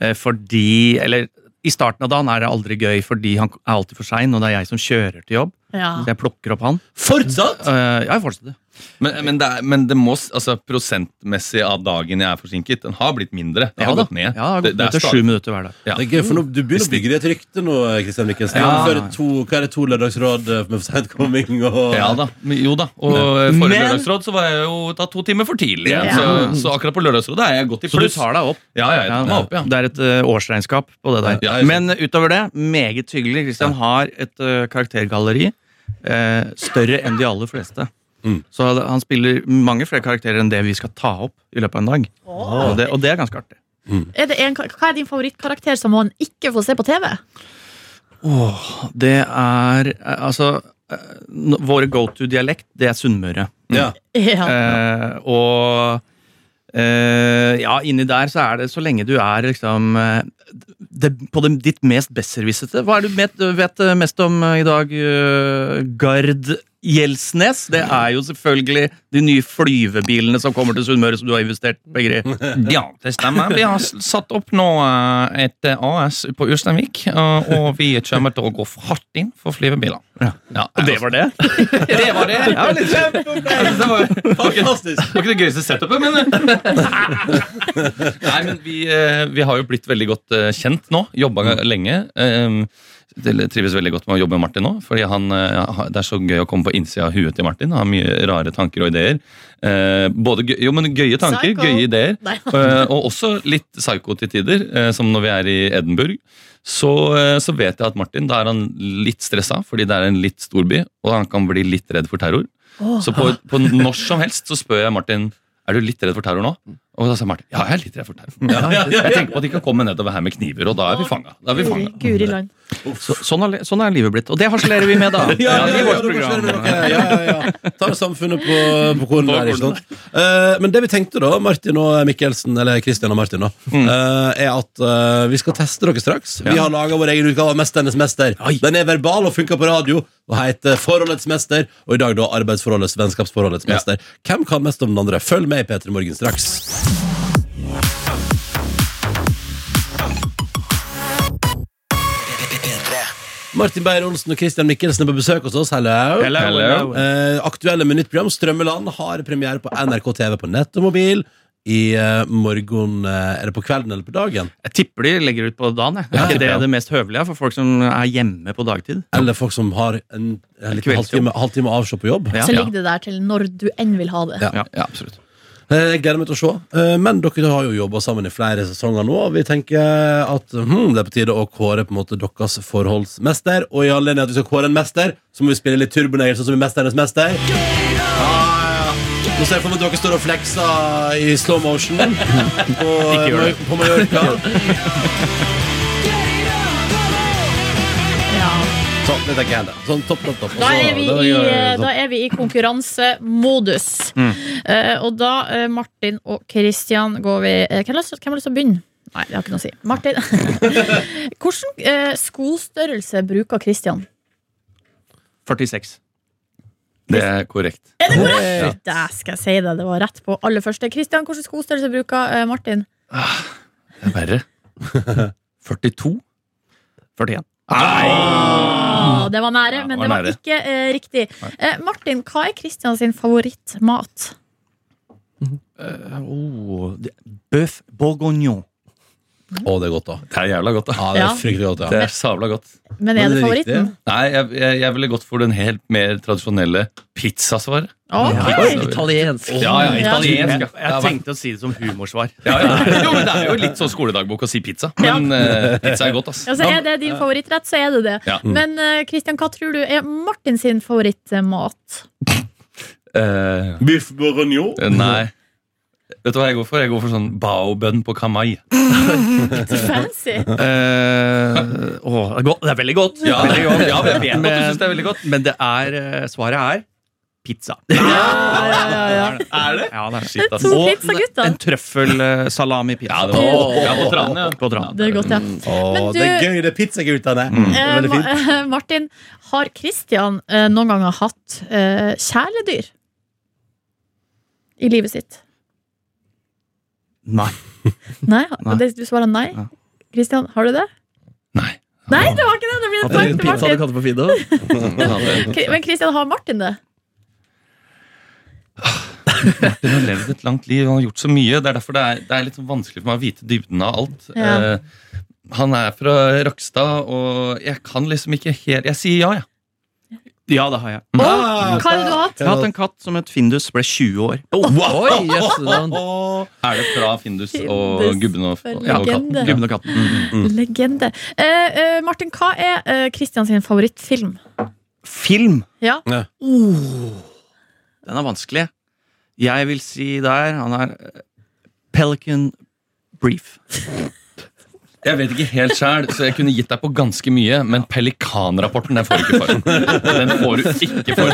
eh, fordi Eller i starten av dagen er det aldri gøy fordi han er alltid for sein, og det er jeg som kjører til jobb. Ja. Så jeg plukker opp han. [laughs] Fortsatt! Eh, ja, jeg fortsetter. Men, men, det er, men det må, s- altså, prosentmessig av dagen jeg er forsinket, den har blitt mindre. Den Ja, har da. gått ned. Ja, det, det, det er til sju minutter hver dag. Ja. Det er gøy, for nå, Du begynner å bygge deg et rykte nå, Kristian Mikkelsen. Ja. Gjennomføre to- Hva er det to lørdagsråd eh, med for sent coming og start- ja da, men- jo da. Og eh, Men- forrige lørdagsråd så var jeg jo da to timer for tidlig. Ja. Så, så akkurat på lørdagsrådet er jeg godt i Så du pluss. tar deg opp. Ja, ja, jeg tar meg opp, ja. Det er et eh, årsregnskap på det der. Ja, jeg- Men utover det, meget hyggelig. Kristian har et eh, karaktergalleri eh, større enn de aller fleste. Mm. Så han spiller mange flere karakterer enn det vi skal ta opp i løpet av en dag. Og, det, og det er ganske artig. Er det en, hva er din favorittkarakter som man ikke får se på TV? Det er eh, altså eh, n- Våre go to-dialekt, det er Sunnmøre. Ja. Ja. Eh, og eh, ja, inni der så er det så lenge du er liksom eh, det, På det, ditt mest besserwissete. Hva er det du vet, vet mest om eh, i dag, eh, Gard Gjelsnes? Det er jo selvfølgelig de nye flyvebilene som kommer til Sunnmøre, som du har investert begge i. Ja, det stemmer. Vi har s- satt opp nå eh, et eh, AS på Ulsteinvik, eh, og vi kommer til å gå for hardt inn for flyvebiler. Ja. og det var det? [laughs] det var det. Ja, litt kjempeopplevelse. Det var Fantastisk! det var ikke det gøyeste setupet, men Nei, men vi, eh, vi har jo blitt veldig godt eh, kjent nå. Jobba lenge. eh, det- Trives veldig godt med å jobbe med Martin nå. Fordi han, eh, har- Det er så gøy å komme på innsida av huet til Martin. Han har mye rare tanker og ideer. Eh, Både gøy, jo, men gøye tanker, Psycho. gøye ideer. Nei. [laughs] Eh, Og også litt psycho til tider, eh, som når vi er i Edinburgh. Så, eh, så vet jeg at Martin da er han litt stressa, fordi det er en litt stor by, og han kan bli litt redd for terror. Så på, på når som helst så spør jeg Martin er du litt redd for terror nå. Og da sa Martin ja, jeg er litt redd for terror. Jeg tenker på at de kan komme nedover her med kniver, og da er vi fanga. Da er vi Guri, fanga. Guri land. Så, sånn, er, li- sånn er livet blitt. Og det harselerer vi med, da. Ja, ja, i ja, det vårt program. forskjellig med dere. ja, ja, ja. Tar samfunnet på, på kornet der, ikke sant. Eh, men det vi tenkte da, Martin og Mikkelsen, eller Kristian og Martin, da, eh, er at eh, vi skal teste dere straks. Vi har laga vår egen utgave av Mesternes mester. Den er verbal og funker på radio og heter Forholdets mester. Og i dag da arbeidsforholdets, vennskapsforholdets mester. Hvem kan mest om den andre? Følg med i P3 Morgen straks. Martin Beyer-Olsen og Christian Mikkelsen er på besøk hos oss. Hello. Hello. Eh, aktuelle med nytt program Strømmeland har premiere på NRK TV på nett og mobil. I eh, morgen eh, Er det på kvelden eller på dagen? Jeg tipper de legger ut på dagen. Jeg. Er ikke det det mest høvelige for folk som er hjemme på dagtid? Eller folk som har en, en liten Kveldsjobb. halvtime, halvtime avsjå på jobb? Ja. Så ligger det der til når du enn vil ha det. Ja. Ja, absolutt. Eh, Jeg gleder meg til å se. Eh, Men dere har jo jobba sammen i flere sesonger nå. og Vi tenker at hmm, det er på tide å kåre på en måte deres forholdsmester. Og i anledning at vi skal kåre en mester, så må vi spille litt turbonegelse som i Mesternes mester. Ja, ja. Nå ser jeg for meg at dere står og flekser i slow motion på, på Mallorca. Sånn, det tenker jeg det. Sånn, topp, topp, topp. Og Da så- er, vi da i, eh, gjør jeg sånn. da er vi i konkurransemodus. Eh, og da, eh, Martin og Christian, går vi eh, Hvem har lyst hvem har lyst til å begynne? Nei, det har ikke noe å si. Martin. Hvilken eh, skostørrelse bruker Christian? 46. Det er korrekt. Det Eh, skal jeg si deg, det var rett på aller første. Christian, hvilken skostørrelse bruker eh, Martin? Det er verre. 42? 41. Ah, det var nære, Ja, men var det var nære. ikke eh, riktig. Eh, Martin, hva er Christian sin favorittmat? Oh, det- Bøff bourguignon. Å, det er godt, da. Det er jævla godt, da. Ja, det Ja. er fryktelig godt, ja. Det er sabla godt. Men er det Men det er riktig. favoritten? Nei, jeg, jeg, jeg ville gått for den helt mer tradisjonelle pizzasvaret. Ok. Italiensk. Ja, ja, Jeg, italiensk. ja. jeg tenkte å si det som humorsvar. Ja, ja. Jo, men det er jo litt sånn skoledagbok å si pizza. Men eh, pizza er godt, ass. Ja, så Altså, er det din favorittrett, så er det det. Ja. Men eh, Christian, hva tror du er Martin sin favorittmat? Eh, Biff bourguignon. nei. Vet du hva jeg går for? Jeg går for sånn baobønn på kamai. Fancy! Eh, åh, det, er godt. det er veldig godt. Ja, Veldig godt. ja, jeg vet at du synes det er veldig godt. Men det er, eh, svaret er [laughs] pizza. Er det? Ja, det er Shit, ass. To Og pizzagutta. en trøffelsalami-pizza. Ja, det var ja, på tranen, ja. På tranen. Det er godt, ja. Mm. Men du- det er gøy, det er pizzaguttene. Det Eh, er veldig Ma- fint. eh, Martin, har Christian eh, noen ganger hatt eh, kjæledyr i livet sitt? Nei. Nei? Nei. Det, du svarer nei? Ja. Christian, har du det? Nei. Nei, det var ikke det! Det blir et Hadde poeng du til pizza Sa du Martin. kalte på Fido? Kri- Men Christian, har Martin det? Martin har levd et langt liv, han har gjort så mye. Det er derfor det er, det er litt sånn vanskelig for meg å vite dybden av alt. Ja. Eh, han er fra Rakstad, og jeg kan liksom ikke helt Jeg sier ja, jeg. Ja, det har jeg. Og hva har du hatt? Jeg har hatt en katt som het Findus, ble 20 år. Oi, jøss. det var en- Er det fra Findus og Findus gubben og, for og, og katten? legende. Gubben og katten. Mm. Legende. Eh, eh, Martin, hva er eh, Christian sin favorittfilm? Film! Oh. Ja. Ja. Den er vanskelig. Jeg vil si der Han er eh, Pelican Brief. Jeg vet ikke helt sjæl, så jeg kunne gitt deg på ganske mye, men Pelikanrapporten den får [laughs] du ikke for. Den får du ikke for.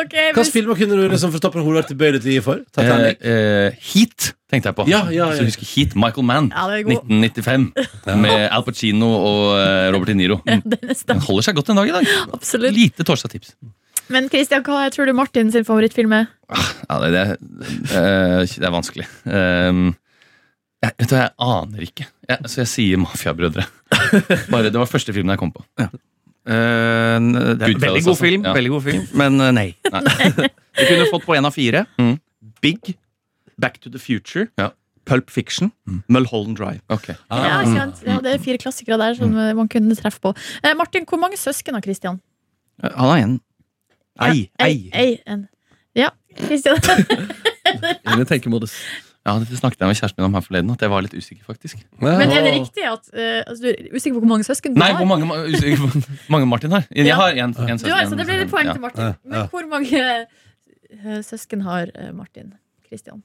Okay, Hvilke filmer kunne du liksom for toppen av hodet vært tilbøyelig til å gi for? Eh, Titanic? eh, heat, tenkte jeg på. Ja, ja, ja. Så jeg husker Heat, Michael Mann, Ja, det er god. 1995. Med Al Pacino og eh, Robert De Niro. [laughs] Den er Den sterk, holder seg godt en dag i dag. absolutt. Lite torsdagstips. Men Christian, hva er- tror du Martin sin favorittfilm er? Ja, det, det, eh, det er vanskelig. Ehm, jeg, vet du, hva, jeg aner ikke. Jeg, så jeg sier Mafiabrødre. Bare, Det var første filmen jeg kom på. Eh, n- det er en Goodfellas, veldig god altså. film, Ja. veldig god film men eh, nei. [laughs] Du kunne fått på én av fire. Mm. Big, Back to the Future, Ja. Mm. Pulp Fiction, Mulholland Drive. Ok. Ja, ikke sant? ja, det er fire klassikere der som Mm. eh, man kunne treffe på. Eh, Martin, hvor mange søsken har Christian? Eh, Han er en. Ei, Ja, ei. ei, ei, en. Ja, Christian. [laughs] Eh, Inn i tenkemodus. Ja, Dette snakket jeg med kjæresten min om her forleden, at jeg var litt usikker. faktisk Men er det riktig at eh, altså, Du er usikker på hvor mange søsken du Nei, har? hvor mange, ma- usikker [laughs] på hvor mange Martin har? Jeg Ja. har en, en Du har, så det blir et poeng Ja. til Martin. Ja. Men hvor mange eh, søsken har eh, Martin? Christian?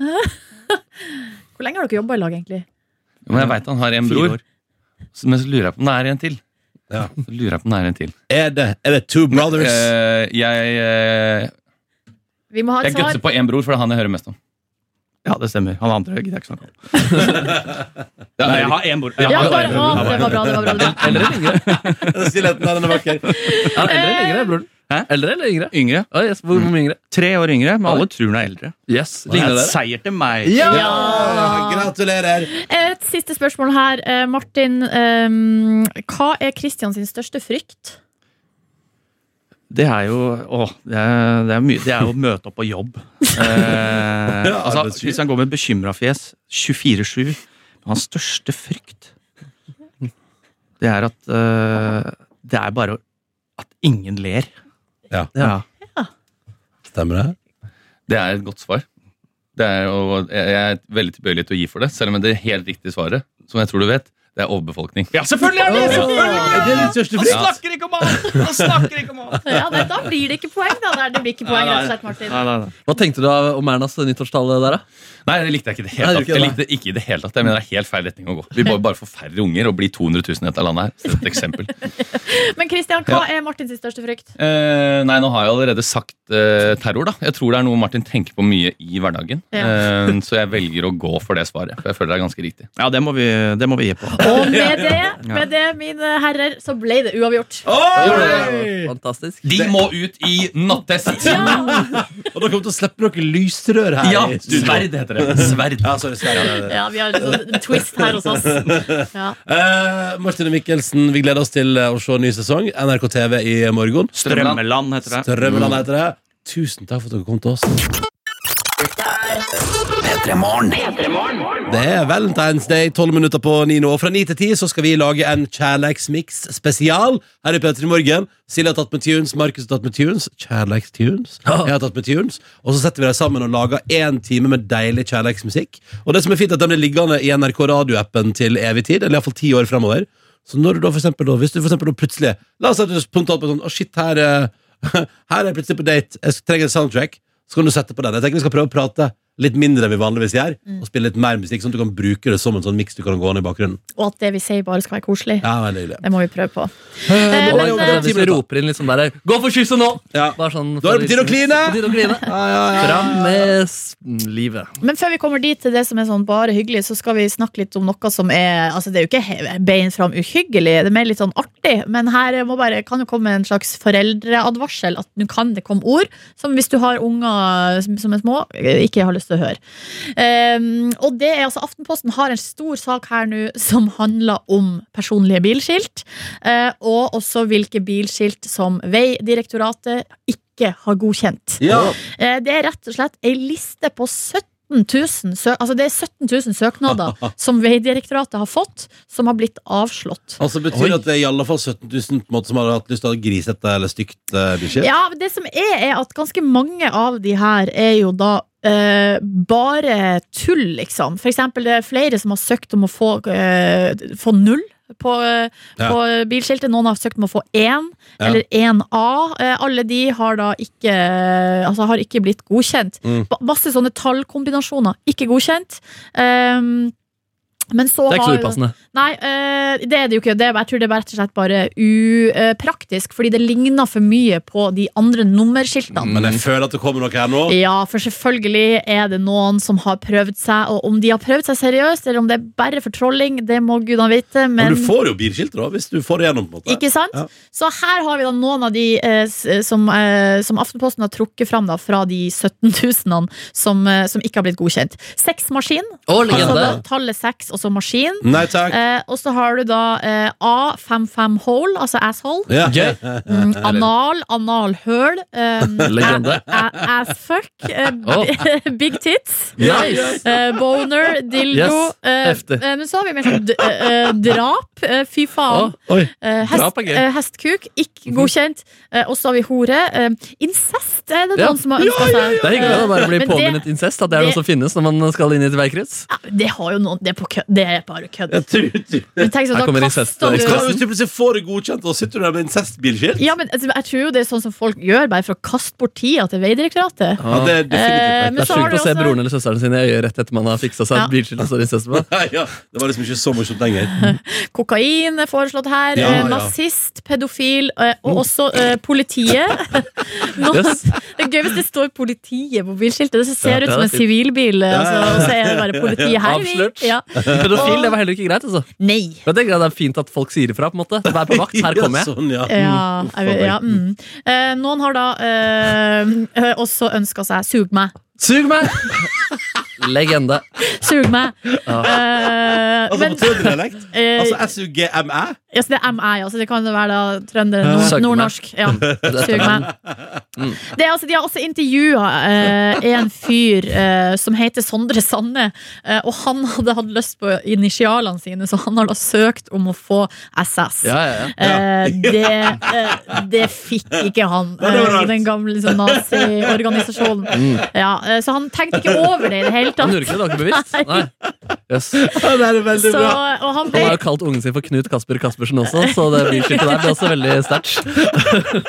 [laughs] Hvor lenge har dere jobba i lag, egentlig? Men jeg veit han har en Fire bror, år. så- men så lurer jeg på om det er en til. Ja. Så lurer jeg på om det er en til Er det, er det Two Brothers? [laughs] Eh, Jeg, eh, Vi må ha jeg et svar. gutser på én bror, for det er han jeg hører mest om. Ja, det stemmer. Han andre gidder jeg ikke [laughs] snakke om. Ja, Nei, jeg har én bord. Ja, bare, å, det var bra. det var bra, det var bra. Den stillheten der, den er vakker. Ja, eldre, yngre, broren. Hæ? Eldre eller yngre? Yngre. Oi, yes, hvor hvor mye yngre? Tre år yngre, men alle tror hun er eldre. Yes, Det ligner er dere? seier til meg. Ja, gratulerer! Eh, Et siste spørsmål her, eh, Martin. ehm, hva er Christian sin største frykt? Det er jo åh, det er, det er mye. Det er jo å møte opp på jobb. [laughs] Eh, Ja, altså, arbeidsgiver. Christian går med bekymra fjes 24-7. Men hans største frykt, det er at eh, Det er bare at ingen ler. Ja. ja. Stemmer det? Det er et godt svar. Det er, og jeg jeg er veldig tilbøyelig til å gi for det, selv om det helt riktige svaret, som jeg tror du vet, det er overbefolkning. Ja, selvfølgelig er det! Selvfølgelig! Er det din største Han frykt? snakker ikke om alt! Han snakker ikke om alt! Ja, det, Da blir det ikke poeng, da. Der. Det blir ikke poeng, rett og slett, Martin. Nei, nei, nei. Hva tenkte du av- om Ernas nyttårstale der, da? Nei, det likte jeg ikke i Nei, det det hele tatt. gjorde Jeg ikke likte det ikke i det hele tatt. Jeg mener det er helt feil retning å gå. [laughs] Vi må bare få færre unger og bli 200 000 i dette landet her. Så et eksempel. Men Christian, hva er Martins største frykt? [laughs] Eh, nei, nå har jeg allerede sagt eh, terror, da. Jeg tror det er noe Martin tenker på mye i hverdagen. Ja. Eh, så jeg velger å gå for det svaret. For jeg føler det er ganske riktig. Ja, det må vi, det må vi gi på. Og med det, med det, mine herrer, så ble det uavgjort. Fantastisk. Eh, De må ut i nattest! Og dere kommer til å slippe noen lysrør her. Ja, i studio. sverd heter det. Sverd. Ja, sorry, sverd. Ja, det er det. Ja, vi har en sånn twist her hos oss. Ja. Eh, Martine Mikkelsen, vi gleder oss til eh, å se ny sesong. NRK TV i morgen. Strømmeland heter det. Strømmeland heter det. Tusen takk for at dere kom til oss. Det er Valentine's Day, tolv minutter på ni nå. Fra ni til ti så skal vi lage en kjærleiksmix spesial her i P3 Morgen. Silje har tatt med tunes, Markus har tatt med tunes. Kjærleikstunes. Jeg har tatt med tunes. Og så setter vi dem sammen og lager én time med deilig kjærleiksmusikk. Og det som er fint, er at den blir liggende i NRK radioappen til evig tid, eller iallfall ti år fremover. Så når du da for eksempel, da, hvis du for eksempel da plutselig La oss si at du spontant på sånn Å, shit, her, eh, [laughs] her er jeg plutselig på date. Jeg trenger en soundtrack. Så kan du sette på den. Jeg tenker vi skal prøve å prate litt mindre enn vi vanligvis gjør, Mm. og spille litt mer musikk, sånn at du kan bruke det som en sånn miks du kan gå ned i bakgrunnen. Og at det vi sier, bare skal være koselig. Ja, veldig hyggelig. Det må vi prøve på. Eh, men, Og eh, Hvis vi roper inn litt sånn der Gå for kysset nå! Ja. Bare sånn, Da er det på tide å kline! På tide å kline. Fram med s- livet. Men før vi kommer dit til det som er sånn bare hyggelig, så skal vi snakke litt om noe som er Altså, det er jo ikke he- bein fram uhyggelig, det er mer litt sånn artig, men her må bare, kan jo komme en slags foreldreadvarsel, at nå kan det komme ord som hvis du har unger som som er små, ikke har lyst til å høre. Ehm, og det er altså Aftenposten har en stor sak her nå som handler om personlige bilskilt, eh, og også hvilke bilskilt som Vegdirektoratet ikke har godkjent. Eh, Det er rett og slett ei liste på 17 000, sø altså det er 17 000 søknader som Vegdirektoratet har fått, som har blitt avslått. Altså betyr det at det er i alle fall 17 000 på en måte, som har hatt lyst til å ha grisete eller stygt uh, bikkje? Ja, men Det som er, er at ganske mange av de her er jo da eh, bare tull, liksom. For eksempel det er flere som har søkt om å få, eh, få null. På, eh, Ja. på bilskiltet. Noen har søkt om å få én, Ja. eller én A. Eh, alle de har da ikke Altså har ikke blitt godkjent. Mm. Ba- Masse sånne tallkombinasjoner. Ikke godkjent. Um, men så Det er ikke har så upassende. Nei, eh, det er det jo ikke. Det er, jeg tror det er rett og slett bare upraktisk, fordi det ligner for mye på de andre nummerskiltene. Men jeg føler at det kommer noe her nå. Ja, for selvfølgelig er det noen som har prøvd seg, og om de har prøvd seg seriøst, eller om det er bare for trolling, det må gudene vite, men Men du får jo bilskilt da, hvis du får det gjennom. på en måte ikke sant? Ja. Så her har vi da noen av de eh, s- som, eh, som Aftenposten har trukket fram da, fra de 17 000 som, eh, som ikke har blitt godkjent. Sexmaskin, Å, altså da, legende. tallet seks, og så maskin. Nei takk. Eh, og så har du da eh, A55 hole, altså asshole. Ja. Gøy. [laughs] Mm, anal, analhøl. Um, [laughs] Legende. Assfuck. [laughs] eh, [laughs] big tits. Nice. eh, boner, dildo. Yes, eh, heftig. eh, men så har vi mer sånn d- eh, eh, drap. eh, fy faen. Oi. Eh, hest, Drap er gøy. Mhm. eh, hestkuk. Ikke godkjent. Eh, og så har vi hore. Eh, incest er det Ja. noen som har ønska seg. Det er hyggelig å bare bli Men det- påminnet incest. At det er noe det- som finnes når man skal inn i et verkrets. Ja, Det har jo noen Det er, på kø, det er bare kødd. Jeg tror ikke Men tenk sånn, da Her kommer kaster incest, da. du- Hva hvis du plutselig får det godkjent, og sitter du der med incestbilskilt? Ja, men altså, jeg tror jo det er sånn som folk gjør, bare for å kaste bort tida til Vegdirektoratet. Ja, det er Eh, definitivt men Det er så har sjukt du å se også- broren eller søsteren sin i øyet rett etter man har fiksa seg Ja. et bilskilt. og så er det incest på. Nei, ja. Det var liksom ikke så morsomt [laughs] lenger. Kokain er foreslått her. Ja, eh, ja. Nazist, pedofil eh, og også eh, politiet. [laughs] Nå, Yes. Det er gøy hvis det står 'politiet' på bilskiltet. Det ser Ja, ut som en det er fint. sivilbil, eh, altså, og så er det bare 'politiet her'. Avslørt. Ja. Pedofil det var heller ikke greit. altså Nei. Men jeg tenker at Det er fint at folk sier ifra. på en måte Vær på vakt, her kommer jeg. Ja, sånn, ja. Ja, Mm, jeg, ja, mm. Eh, noen har da eh, også ønska seg 'sug meg'. Sug [laughs] meg! Legende. Sug meg. Eh, Altså, men på trønderdialekt? eh, Altså S-U-G-M-E? ja, så det er ME, altså. Det kan jo være da trønder, Søk nord meg. nordnorsk. Ja. Sug meg. Det er, altså, de har også intervjua eh, en fyr eh, som heter Sondre Sanne. Eh, og han hadde hatt lyst på initialene sine, så han har da søkt om å få SS. [laughs] Ja, ja, ja. Eh, det, eh, det fikk ikke han, Ja, det var eh, rart. den gamle liksom, naziorganisasjonen. Ja, eh, så han tenkte ikke over det i det hele Han tatt. gjorde ikke det, det var ikke [laughs] bevisst? Nei. Yes. Ja, det er Så, veldig bra. og han Han ble har jo kalt ungen sin for Knut Kasper Kaspersen også, så det blyskiltet der blir også veldig sterkt.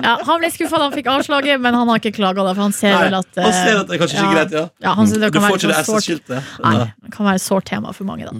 Ja, han ble skuffa da han fikk avslaget, men han har ikke klaga. da, For han ser Nei, vel at, eh, han ser at det er kanskje ikke ja. greit, ja. Mm. Ja, han synes det Du kan får være ikke det sånn sårt- SS-skiltet. Nei, det kan være et sårt tema for mange, da.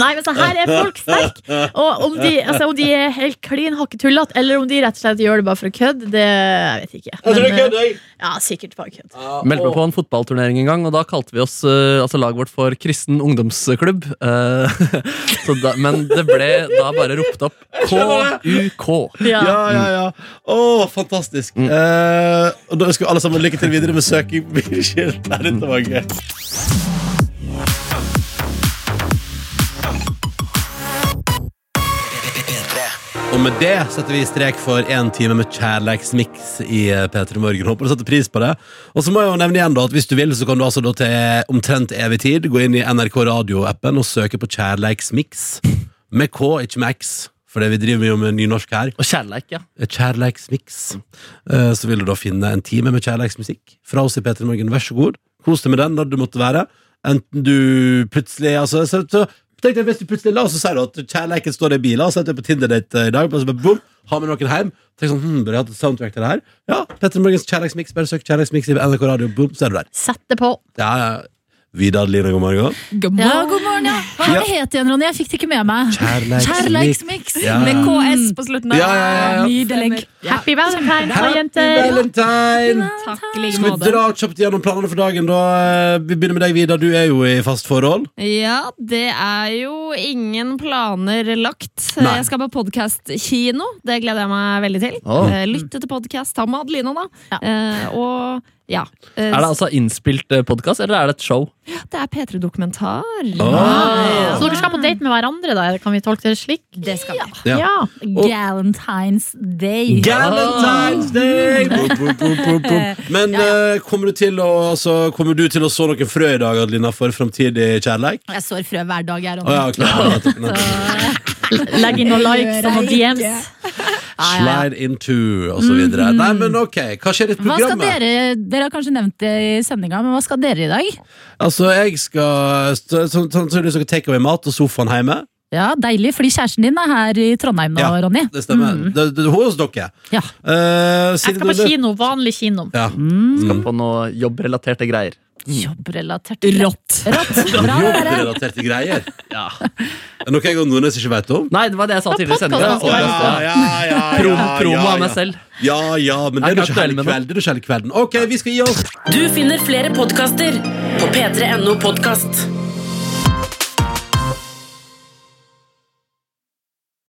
Nei, men så her er folk sterke. Og om de, altså, om de er helt klin hakke tullete, eller om de rett og slett gjør det bare for å kødde, det jeg vet ikke. Jeg tror det Men, er kødd, eh, jeg. ja, sikkert bare kødd. [laughs] Meldte meg på en fotballturnering en gang, og da kalte vi oss eh, altså laget vårt for Kristen ungdomsklubb. Eh, [laughs] så da, men det ble da bare ropt opp KUK. Ja. Ja, ja, ja. Å, fantastisk. Eh, og da ønsker vi alle sammen lykke til videre med søking [laughs] på bilskilt. Nei, Dette var gøy. Og med det setter vi strek for én time med kjærleiksmiks i eh, P3 Morgen. Håper du setter pris på det. Og så må jeg jo nevne igjen da at hvis du vil, så kan du altså da til omtrent evig tid gå inn i NRK Radio-appen og søke på kjærleiksmiks. Med K, ikke med X, for det vi driver jo med nynorsk her Og kjærleik, ja. kjærleiksmiks. Eh, Så vil du da finne en time med kjærleiksmusikk fra oss i P3 Morgen. Vær så god. Kos deg med den når du måtte være. Enten du plutselig altså, så, så, tenk deg hvis du plutselig La oss si da at kjærleiken står i bilen, og så er du på Tinder-date i dag, og så bare boom, har med noen hjem. Tenk sånn, hm, burde jeg hatt et soundtrack til det her? Ja, P3 Morgens kjærleiksmiks. Bare søk kjærleiksmiks i NRK Radio, boom, så er du der. Sett det på. Ja, ja. Vidar Lina, god morgen. Ja, god morgen, ja. Hva er det het igjen, Ronny? Jeg fikk det ikke med meg. Kjærleiksmiks. Kjærleiksmix Ja. med KS på slutten. der. Ja, ja, ja, ja. Nydelig. Happy Valentine's, da, jenter! Valentine! Takk i like Skal vi måte. dra kjapt gjennom planene for dagen, da? Vi begynner med deg, Vidar. Du er jo i fast forhold. Ja, det er jo ingen planer lagt. Nei. Jeg skal på podkast-kino. Det gleder jeg meg veldig til. Å. Eh, Lytte til podkast sammen med Adelina, da. Ja. Eh, og ja. Eh, Er det altså innspilt podkast, eller er det et show? det er P3-dokumentar. Ah. Så dere skal på date med hverandre, da? Kan vi tolke det slik? Det skal vi. Ja. Ja. Galentine's Day. Galentine's Day! Boop, boop, boop, boop, boop. Men eh, kommer, du til å, altså, kommer du til å så noen frø i dag, Adelina, for framtidig kjærleik? Jeg sår frø hver dag, jeg, Å ja, klart. Legg inn noen likes og noen DMs. Slide into, og så videre. Nei, men ok, hva skjer i Hva skal programmet? dere, dere har kanskje nevnt det i sendinga, men hva skal dere i dag? Altså, jeg skal så- Sånn sånn- sånn du skal take away mat og sofaen hjemme. Ja, Deilig, fordi kjæresten din er her i Trondheim nå, Ja. Ronny. Det stemmer. Det, det, hos dere. Ja. Eh, Jeg skal siden på du- kino. Vanlig kino. Ja. Skal på noe jobbrelaterte greier. Jobbrelatert Rått. Rått. Bra, dere. Jobbrelaterte greier. Er det Noe jeg og Nordnes ikke vet om? Nei, det var det jeg sa tidligere i sendinga. podcasten skal være Ja, ja, ja, Prom- Promo av meg selv. Ja, ja, men det Jeg er jo er ikke aktuell hele med det. kvelden. Det er jo ikke hele kvelden. Ok, vi skal gi oss. Du finner flere podkaster på p3.no podkast.